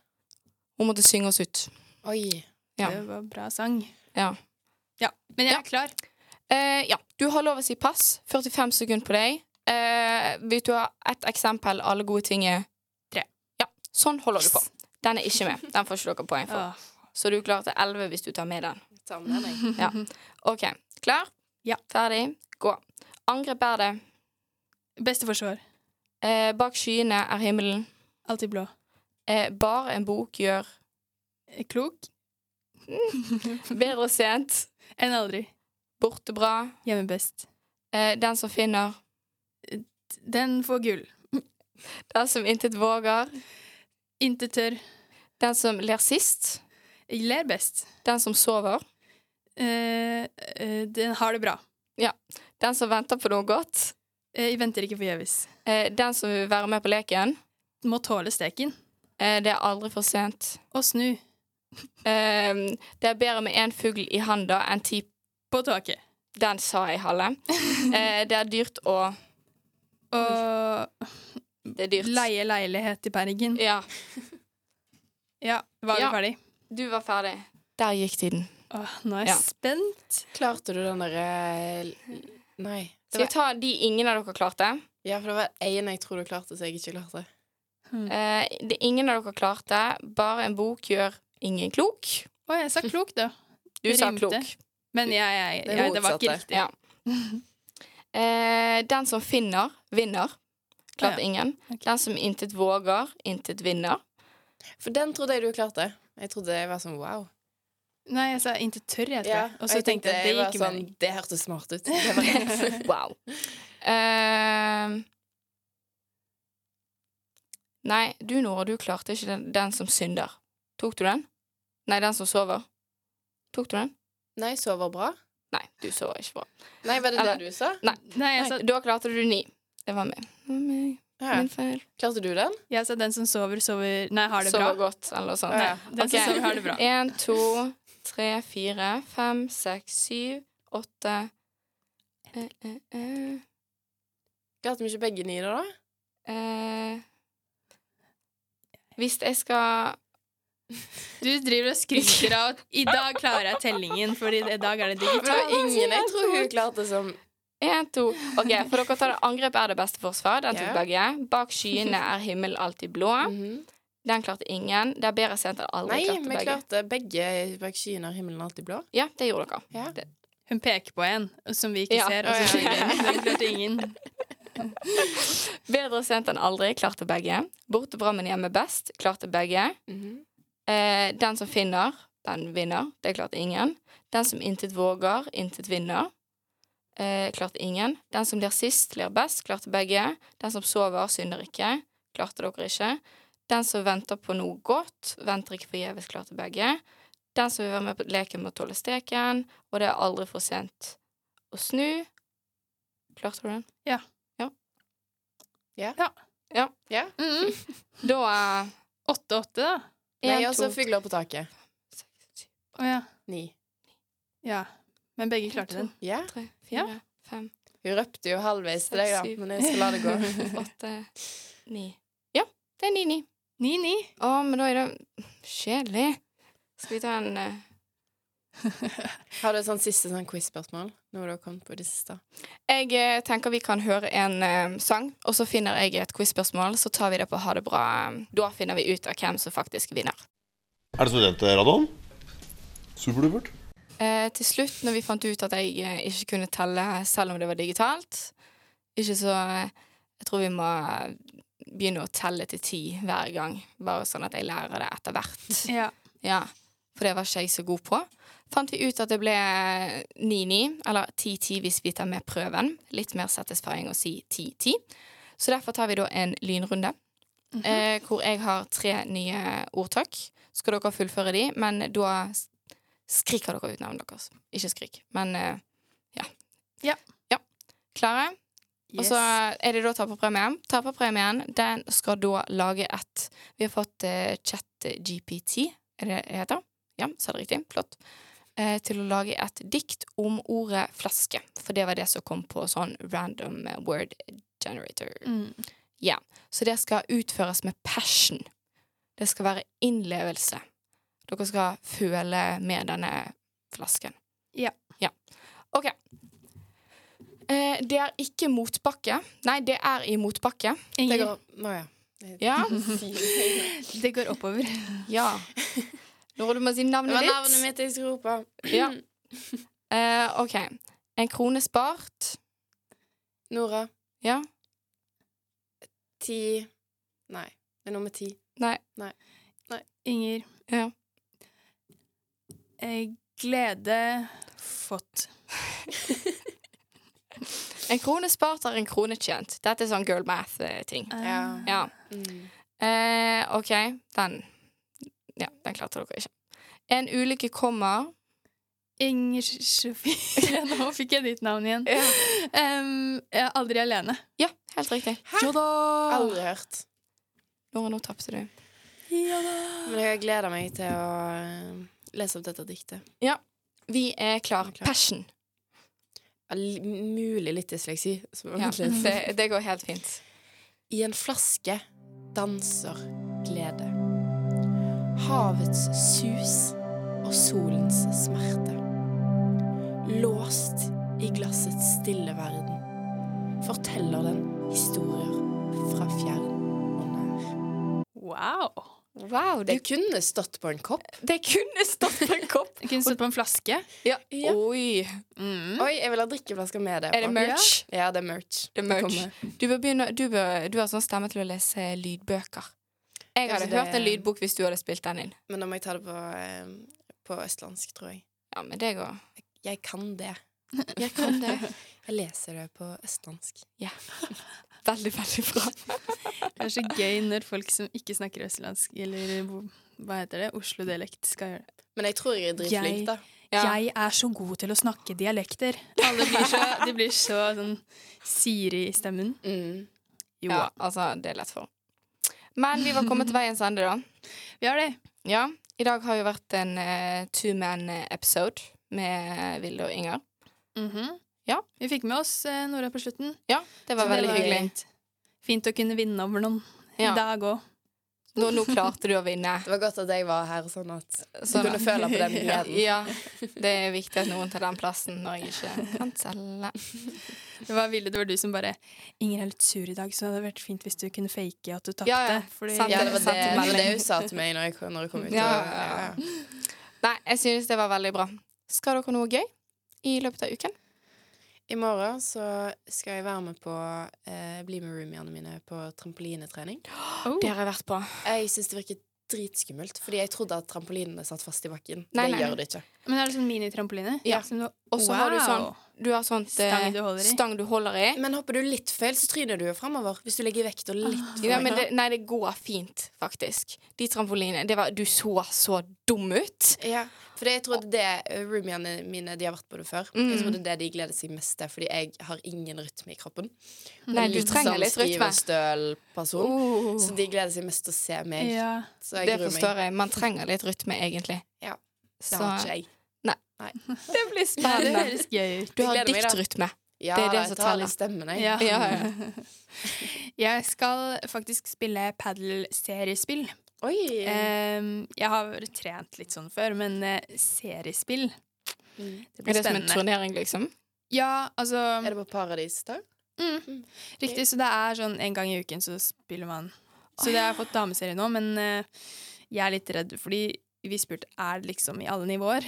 Speaker 2: Hun måtte synge oss ut.
Speaker 10: Oi.
Speaker 2: Ja.
Speaker 6: Det var bra sang.
Speaker 2: Ja.
Speaker 6: Ja, Men jeg
Speaker 2: Ja.
Speaker 6: er klar.
Speaker 2: Eh, ja, du har lov å si pass. 45 sekunder på deg. Eh, vil du ha ett eksempel? Alle gode ting er
Speaker 6: Tre.
Speaker 2: Ja, sånn holder du på. Den er ikke med. Den får ikke dere poeng for.
Speaker 6: Åh.
Speaker 2: Så du klarte 11 hvis du tar med den.
Speaker 10: Ta med deg.
Speaker 2: OK. Klar?
Speaker 6: Ja.
Speaker 2: Ferdig? Gå. Angrep er det.
Speaker 6: Beste forsvar.
Speaker 2: Eh, bak skyene er himmelen.
Speaker 6: Alltid blå.
Speaker 2: Eh, bare en bok gjør
Speaker 6: Klok.
Speaker 2: bedre sent.
Speaker 6: Enn aldri.
Speaker 2: Borte bra.
Speaker 6: Hjemme best.
Speaker 2: Eh, den som finner.
Speaker 6: Den får gull.
Speaker 2: Den som intet våger.
Speaker 6: Intet tørr.
Speaker 2: Den som ler sist.
Speaker 6: Ler best.
Speaker 2: Den som sover.
Speaker 6: Eh, eh, den har det bra.
Speaker 2: Den som venter på noe godt.
Speaker 6: Eh, jeg venter ikke forgjeves.
Speaker 2: Eh, den som vil være med på leken,
Speaker 6: Må tåle steken.
Speaker 2: eh, det er aldri for sent.
Speaker 6: Og snu.
Speaker 2: Eh, det er bedre med én fugl i handa enn ti
Speaker 6: På taket.
Speaker 2: Den sa jeg,
Speaker 6: *laughs*
Speaker 2: Halle. Eh, det er dyrt å
Speaker 6: Og
Speaker 2: Det er dyrt.
Speaker 6: leie leilighet i Bergen.
Speaker 2: Ja.
Speaker 6: Ja, var vi
Speaker 2: Ja.
Speaker 6: ferdig?
Speaker 2: Du var ferdig. Der gikk tiden.
Speaker 6: Åh, nå er jeg
Speaker 2: Ja.
Speaker 6: spent.
Speaker 10: Klarte du den derre l- Nei.
Speaker 2: Skal vi ta de ingen av dere klarte?
Speaker 10: Ja, for det var én jeg tror du klarte, så jeg ikke klarte.
Speaker 2: Eh, det ingen av dere klarte. Bare en bok gjør ingen klok.
Speaker 6: Å, jeg sa klok, da.
Speaker 2: Du sa
Speaker 6: Rimte.
Speaker 2: klok.
Speaker 6: Men jeg, jeg,
Speaker 10: Det
Speaker 6: jeg, det var ikke
Speaker 10: motsatte.
Speaker 6: riktig.
Speaker 2: Ja. Eh, den som finner, vinner. Klarte
Speaker 6: Å, ja.
Speaker 2: ingen. Den som intet våger, intet vinner.
Speaker 10: For den trodde jeg du klarte. Jeg trodde jeg var sånn wow.
Speaker 6: Nei, jeg sa inntil tørr, jeg tror.
Speaker 10: Ja,
Speaker 6: og så tenkte jeg det
Speaker 10: var
Speaker 6: gikk jo
Speaker 10: sånn,
Speaker 6: mening.
Speaker 10: Det hørtes smart ut. Det var
Speaker 2: *laughs*
Speaker 10: rett.
Speaker 2: Wow. Ehm. nei, du Nora, du klarte ikke den, den som synder. Tok du den? Nei, den som sover. Tok du den?
Speaker 10: *laughs* Nei, sover bra.
Speaker 2: Nei, du sover ikke bra.
Speaker 10: Nei, var det
Speaker 2: Eller-
Speaker 10: det du sa?
Speaker 6: Nei, jeg sa,
Speaker 2: Da klarte du ni. Det var meg. Det var meg.
Speaker 10: Ja.
Speaker 2: Min feil.
Speaker 10: Klarte du den?
Speaker 6: jeg sa den som sover, sover Nei, har det
Speaker 2: Sover
Speaker 6: bra.
Speaker 2: godt, eller noe sånt.
Speaker 10: Ja.
Speaker 6: Den
Speaker 2: Ok.
Speaker 6: som sover, har det bra.
Speaker 2: En, to, tre, fire, fem, seks, syv, åtte eh, eh, eh.
Speaker 10: Klarte vi ikke begge ni det, da?
Speaker 2: eh. Hvis jeg skal
Speaker 6: *laughs* Du driver og skryter av at 'i dag klarer jeg tellingen', for i dag er det digitalt.
Speaker 10: Det var ingen jeg tror
Speaker 2: sånn.
Speaker 10: hun klarte som
Speaker 2: Én, to. OK, for dere tar det angrep er det beste forsvar. Den tok
Speaker 10: Ja.
Speaker 2: begge. Bak skyene er himmelen alltid blå. Den klarte ingen. Det er bedre sent enn aldri.
Speaker 10: Mhm. Nei,
Speaker 2: klarte
Speaker 10: vi
Speaker 2: begge.
Speaker 10: klarte begge bak skyen av himmelen alltid blå.
Speaker 2: Ja, det gjorde dere. Det-
Speaker 6: Hun peker på en som vi ikke
Speaker 2: Ja.
Speaker 6: ser. Og så
Speaker 2: Å, ja.
Speaker 6: er det ingen. Den klarte ingen.
Speaker 2: Bedre sent enn aldri. Klarte begge. Borte bra, men hjemme best. Klarte begge. Eh, den som finner, den vinner. Det klarte ingen. Den som intet våger, intet vinner. Eh, klarte ingen. Den som ler sist, ler best. Klarte begge. Den som sover, synder ikke. Klarte dere ikke. Den som venter på noe godt, venter ikke forgjeves. Klarte begge. Den som vil være med på leken, må tåle steken. Og det er aldri for sent å snu. Klarte du den?
Speaker 6: Ja.
Speaker 2: Ja.
Speaker 10: Ja.
Speaker 2: Ja. Da eh,
Speaker 6: Åtte-åtte, da.
Speaker 10: Nei,
Speaker 2: En,
Speaker 10: altså
Speaker 2: to,
Speaker 10: fugler på taket.
Speaker 6: Å ja.
Speaker 10: Ni.
Speaker 6: ja. Men begge klarte den.
Speaker 10: Ja.
Speaker 2: tre,
Speaker 6: Ja.
Speaker 2: fire, fem,
Speaker 10: Hun røpte jo halvveis til deg, da,
Speaker 2: Syv.
Speaker 10: men jeg skal la det gå.
Speaker 2: *laughs* åtte, ni. Ja, det er ni-ni.
Speaker 6: Ni-ni.
Speaker 2: Å, men da er det kjedelig. Skal vi ta en eh,
Speaker 10: Har du et sånt siste sånn quiz-spørsmål? Noe du har kommet på i det siste?
Speaker 2: Jeg eh, tenker vi kan høre en eh, sang, og så finner jeg et quiz-spørsmål. Så tar vi det på Ha det bra. Da finner vi ut av hvem som faktisk vinner.
Speaker 12: Er det eh, studentradioen? Superdupert.
Speaker 2: Eh, til slutt, når vi fant ut at jeg eh, ikke kunne telle selv om det var digitalt Ikke så eh, Jeg tror vi må begynne å telle til ti hver gang, bare sånn at jeg lærer det etter hvert.
Speaker 6: Ja.
Speaker 2: Ja, for det var ikke jeg så god på. Fant vi ut at det ble 9-9, eller 10-10 hvis vi tar med prøven. Litt mer satisfying å si 10-10. Så derfor tar vi da en lynrunde, eh, hvor jeg har tre nye ordtak. Skal dere fullføre de, men da s- skriker dere ut navnet deres. Ikke skrik, men eh, ja.
Speaker 6: Ja.
Speaker 2: Klare? Og så er det da taperpremien. Taperpremien den skal da lage et Vi har fått eh, ChatGPT, er det det heter? Ja, sa det riktig. Flott. Eh, til å lage et dikt om ordet flaske. For det var det som kom på sånn random eh, word generator.
Speaker 6: Mm.
Speaker 2: Ja. Så det skal utføres med passion. Det skal være innlevelse. Dere skal føle med denne flasken.
Speaker 6: Ja.
Speaker 2: Ja. OK. Eh, det er ikke motbakke. Nei, det er i motbakke.
Speaker 10: Det
Speaker 6: Ingen.
Speaker 10: går Nå, ja.
Speaker 2: Ja.
Speaker 10: *laughs*
Speaker 6: Det går oppover.
Speaker 2: ja. Når du må si
Speaker 10: Det
Speaker 2: navnet
Speaker 10: var
Speaker 2: ditt.
Speaker 10: navnet mitt jeg skulle rope.
Speaker 2: Ja. Eh, OK. En krone spart.
Speaker 10: Nora.
Speaker 2: Ja.
Speaker 10: Ti Nei, det er nummer ti.
Speaker 2: Nei.
Speaker 6: Inger.
Speaker 2: Ja.
Speaker 6: Eh, Glede fått.
Speaker 2: En krone spart er en krone tjent. Dette er sånn girl math-ting.
Speaker 6: Eh,
Speaker 10: Ja.
Speaker 2: Ja.
Speaker 10: Mm.
Speaker 2: Eh, OK. Den Ja, den klarte dere ikke. En ulykke kommer.
Speaker 6: Inger Sofie. *laughs* Nå fikk jeg ditt navn igjen. Em, jeg er aldri alene.
Speaker 2: Ja, helt riktig.
Speaker 6: Jo da!
Speaker 10: Aldri hørt.
Speaker 2: Nora, nå tapte du.
Speaker 10: Men jeg gleder meg til å eh, lese opp dette diktet.
Speaker 2: Ja, vi er klar.
Speaker 10: klar.
Speaker 2: Passion.
Speaker 10: Ja, li- Mulig litt dysleksi. så-
Speaker 2: Ja, *laughs* det, det går helt fint.
Speaker 10: I en flaske danser glede. Havets sus og solens smerte. Låst i glassets stille verden forteller den historier fra fjern og nær.
Speaker 6: Wow!
Speaker 2: Wow,
Speaker 10: Det
Speaker 2: det,
Speaker 10: kunne stått på en kopp.
Speaker 2: det kunne stått *laughs* på en kopp.
Speaker 6: Jeg kunne stått på en flaske.
Speaker 2: Ja.
Speaker 10: Ja.
Speaker 2: Oi.
Speaker 10: Oi, jeg vil ha drikkeflasker med det.
Speaker 2: Er det merch?
Speaker 10: Ja, det er merch.
Speaker 2: Det er merch.
Speaker 10: Kommer.
Speaker 2: Du, bør begynne, du, bør, du har sånn stemme til å lese lydbøker. Jeg hadde
Speaker 10: Kanskje det-
Speaker 2: hørt en lydbok hvis du hadde spilt den inn.
Speaker 10: Men da må jeg ta det på, eh, på østlandsk, tror jeg.
Speaker 2: Ja, men det går.
Speaker 10: Jeg kan det.
Speaker 2: Jeg kan det.
Speaker 10: Jeg leser det på østlandsk.
Speaker 2: *laughs* Veldig, veldig bra.
Speaker 6: Det er så gøy når folk som ikke snakker østlandsk, eller hvor- hva heter det, Oslo-dialekt, skal gjøre det.
Speaker 10: Men jeg tror jeg er
Speaker 6: Jeg-
Speaker 10: dritflink, da.
Speaker 2: Ja.
Speaker 6: Jeg er så god til å snakke dialekter. Alle blir
Speaker 2: *laughs*
Speaker 6: så, de blir så sånn Siri i stemmen.
Speaker 10: Mm.
Speaker 6: Jo,
Speaker 2: Ja, altså, det er lett for. Men vi var kommet til veiens ende, da.
Speaker 6: vi har det.
Speaker 2: Ja, i dag har jo eh, vært en uh, two man episode med Vilde og Inger.
Speaker 6: Mhm.
Speaker 2: Ja.
Speaker 6: Vi fikk med oss eh, Nora på slutten.
Speaker 2: Ja, det var
Speaker 6: Så
Speaker 2: veldig hyggelig.
Speaker 6: fint. Fint å kunne vinne over noen
Speaker 2: Ja.
Speaker 6: i dag òg.
Speaker 2: Nå, nå klarte du å vinne.
Speaker 10: Det var godt at jeg var her, sånn at du
Speaker 2: Så-
Speaker 10: kunne føle på den gleden.
Speaker 2: *laughs* Ja. Det er viktig at noen tar den plassen når jeg ikke kan selge.
Speaker 6: Det var Ville, det var du som bare 'Inger er litt sur i dag, så det hadde vært fint hvis du kunne fake at du tapte'.
Speaker 2: Ja, ja.
Speaker 6: Fordi-
Speaker 2: Sant,
Speaker 10: Ja, det var
Speaker 2: sant
Speaker 10: det, det,
Speaker 2: melding.
Speaker 10: var det hun sa til meg når jeg, når jeg kom *laughs* ut.
Speaker 2: Ja,
Speaker 10: og-
Speaker 2: ja, ja. Nei, jeg synes det var veldig bra. Skal dere noe gøy i løpet av uken?
Speaker 10: I morgen så skal jeg være med på eh, Bli med roomiene mine på trampolinetrening.
Speaker 2: Det har jeg vært på.
Speaker 10: Jeg syns det virker dritskummelt, fordi jeg trodde at trampolinene satt fast i bakken.
Speaker 2: Nei,
Speaker 10: det
Speaker 2: nei.
Speaker 10: gjør det ikke.
Speaker 6: Men er det sånn minitrampoline?
Speaker 2: liksom Ja.
Speaker 6: Som du,
Speaker 2: Og så har du
Speaker 6: Wow.
Speaker 2: sånn Du har sånt eh,
Speaker 6: Stang du holder i.
Speaker 2: stang du holder i.
Speaker 10: Men hopper du litt feil, så tryner du jo framover. Hvis du legger vekta litt
Speaker 2: Ja, men
Speaker 10: foran.
Speaker 2: det, nei, det går fint, faktisk. De trampolinene det var, Du så så dum ut.
Speaker 10: Ja, for jeg trodde det eh, roomiene mine De har vært på det før.
Speaker 2: Mm.
Speaker 10: Jeg trodde det de gleder seg mest til, fordi jeg har ingen rytme i kroppen. Mm.
Speaker 2: Nei, du trenger litt rytme.
Speaker 10: Litt sånn skrivestøl-person.
Speaker 2: Oh.
Speaker 10: Så de gleder seg mest til å se meg.
Speaker 2: Ja.
Speaker 10: Så Uh.
Speaker 2: det
Speaker 10: jeg gruer
Speaker 2: forstår
Speaker 10: meg.
Speaker 2: jeg. Man trenger litt rytme, egentlig.
Speaker 10: Ja. Det
Speaker 2: Så-
Speaker 10: har ikke jeg.
Speaker 2: Nei.
Speaker 10: Nei.
Speaker 2: Det blir spennende.
Speaker 10: Det høres gøy ut.
Speaker 2: Du har
Speaker 10: Jeg gleder meg, da.
Speaker 2: diktrytme.
Speaker 10: Ja,
Speaker 2: det er det
Speaker 10: jeg
Speaker 2: som
Speaker 10: tar
Speaker 2: teller.
Speaker 10: litt stemmen, jeg.
Speaker 2: Ja. Ja, ja.
Speaker 6: *laughs* Jeg skal faktisk spille padel-seriespill. Ehm,
Speaker 10: Oi!
Speaker 2: Eh,
Speaker 6: jeg har trent litt sånn før, men eh, seriespill Det
Speaker 2: Mm. Er
Speaker 6: blir
Speaker 2: det som en
Speaker 6: spennende.
Speaker 2: turnering, liksom?
Speaker 6: Ja, altså
Speaker 10: Er det på Paradis, da?
Speaker 6: Mm. Riktig. Så det er sånn en gang i uken så spiller man. Så det har jeg fått dameserie nå, men eh, jeg er litt redd, fordi vi spurte er det liksom i alle nivåer.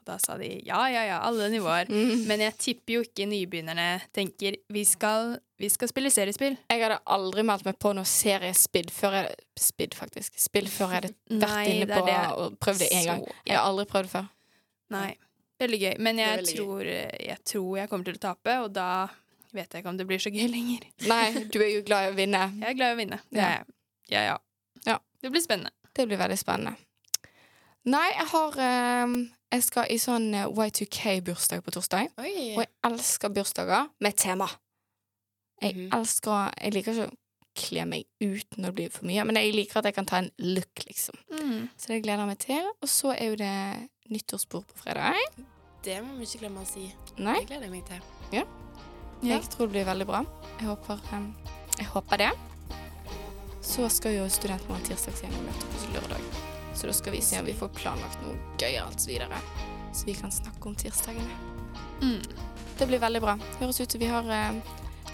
Speaker 6: Og da sa de ja, ja, ja, alle nivåer.
Speaker 2: Mm.
Speaker 6: Men jeg tipper jo ikke nybegynnerne tenker vi skal, vi skal spille seriespill.
Speaker 2: Jeg hadde aldri meldt meg på noe seriespill før jeg Spill, faktisk. Spill før jeg hadde vært
Speaker 6: Nei,
Speaker 2: inne
Speaker 6: det er
Speaker 2: på
Speaker 6: det.
Speaker 2: og prøvd det én gang.
Speaker 6: Så-
Speaker 2: Jeg har aldri prøvd det før.
Speaker 6: Nei. Veldig gøy. Men
Speaker 2: Det er
Speaker 6: jeg
Speaker 2: veldig gøy.
Speaker 6: tror, jeg tror jeg kommer til å tape, og da vet jeg ikke om det blir så gøy lenger.
Speaker 2: Nei, du er jo glad i å vinne.
Speaker 6: Jeg er glad i å vinne. Det er jeg. Ja, ja. Det blir spennende.
Speaker 2: Det blir veldig spennende. Nei, jeg har ehm, Jeg skal i sånn eh, Y2K-bursdag på torsdag.
Speaker 10: Oi.
Speaker 2: Og jeg elsker bursdager med tema. Jeg elsker Jeg liker ikke å kle meg ut når det blir for mye, men jeg liker at jeg kan ta en look, liksom.
Speaker 6: Mm.
Speaker 2: Så det gleder jeg meg til. Og så er jo det nyttårsbord på fredag.
Speaker 10: Det må vi ikke glemme å si.
Speaker 2: Nei.
Speaker 10: Det gleder jeg meg til.
Speaker 2: Ja.
Speaker 10: Ja.
Speaker 2: Jeg tror det blir veldig bra. Jeg håper, em, jeg håper det. Så skal jo studentmorgen tirsdagsgjengen møte oss lørdag. Så da skal vi se om vi får planlagt noe gøyalt videre. Så vi kan snakke om tirsdagene. Det blir veldig bra. Høres ut som vi har eh,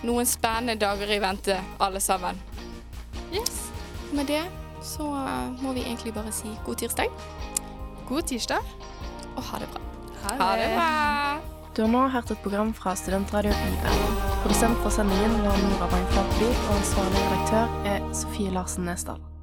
Speaker 2: noen spennende dager i vente, alle sammen.
Speaker 6: Yes.
Speaker 2: Med det så eh, må vi egentlig bare si god tirsdag.
Speaker 6: God tirsdag.
Speaker 2: Og ha det bra.
Speaker 13: Ha det
Speaker 2: bra.
Speaker 13: Du har nå hørt et program fra Studentradio i Bergen. Produsent for sendingen var Nora Bang Flatby, og ansvarlig redaktør er Sofie Larsen Nesdal.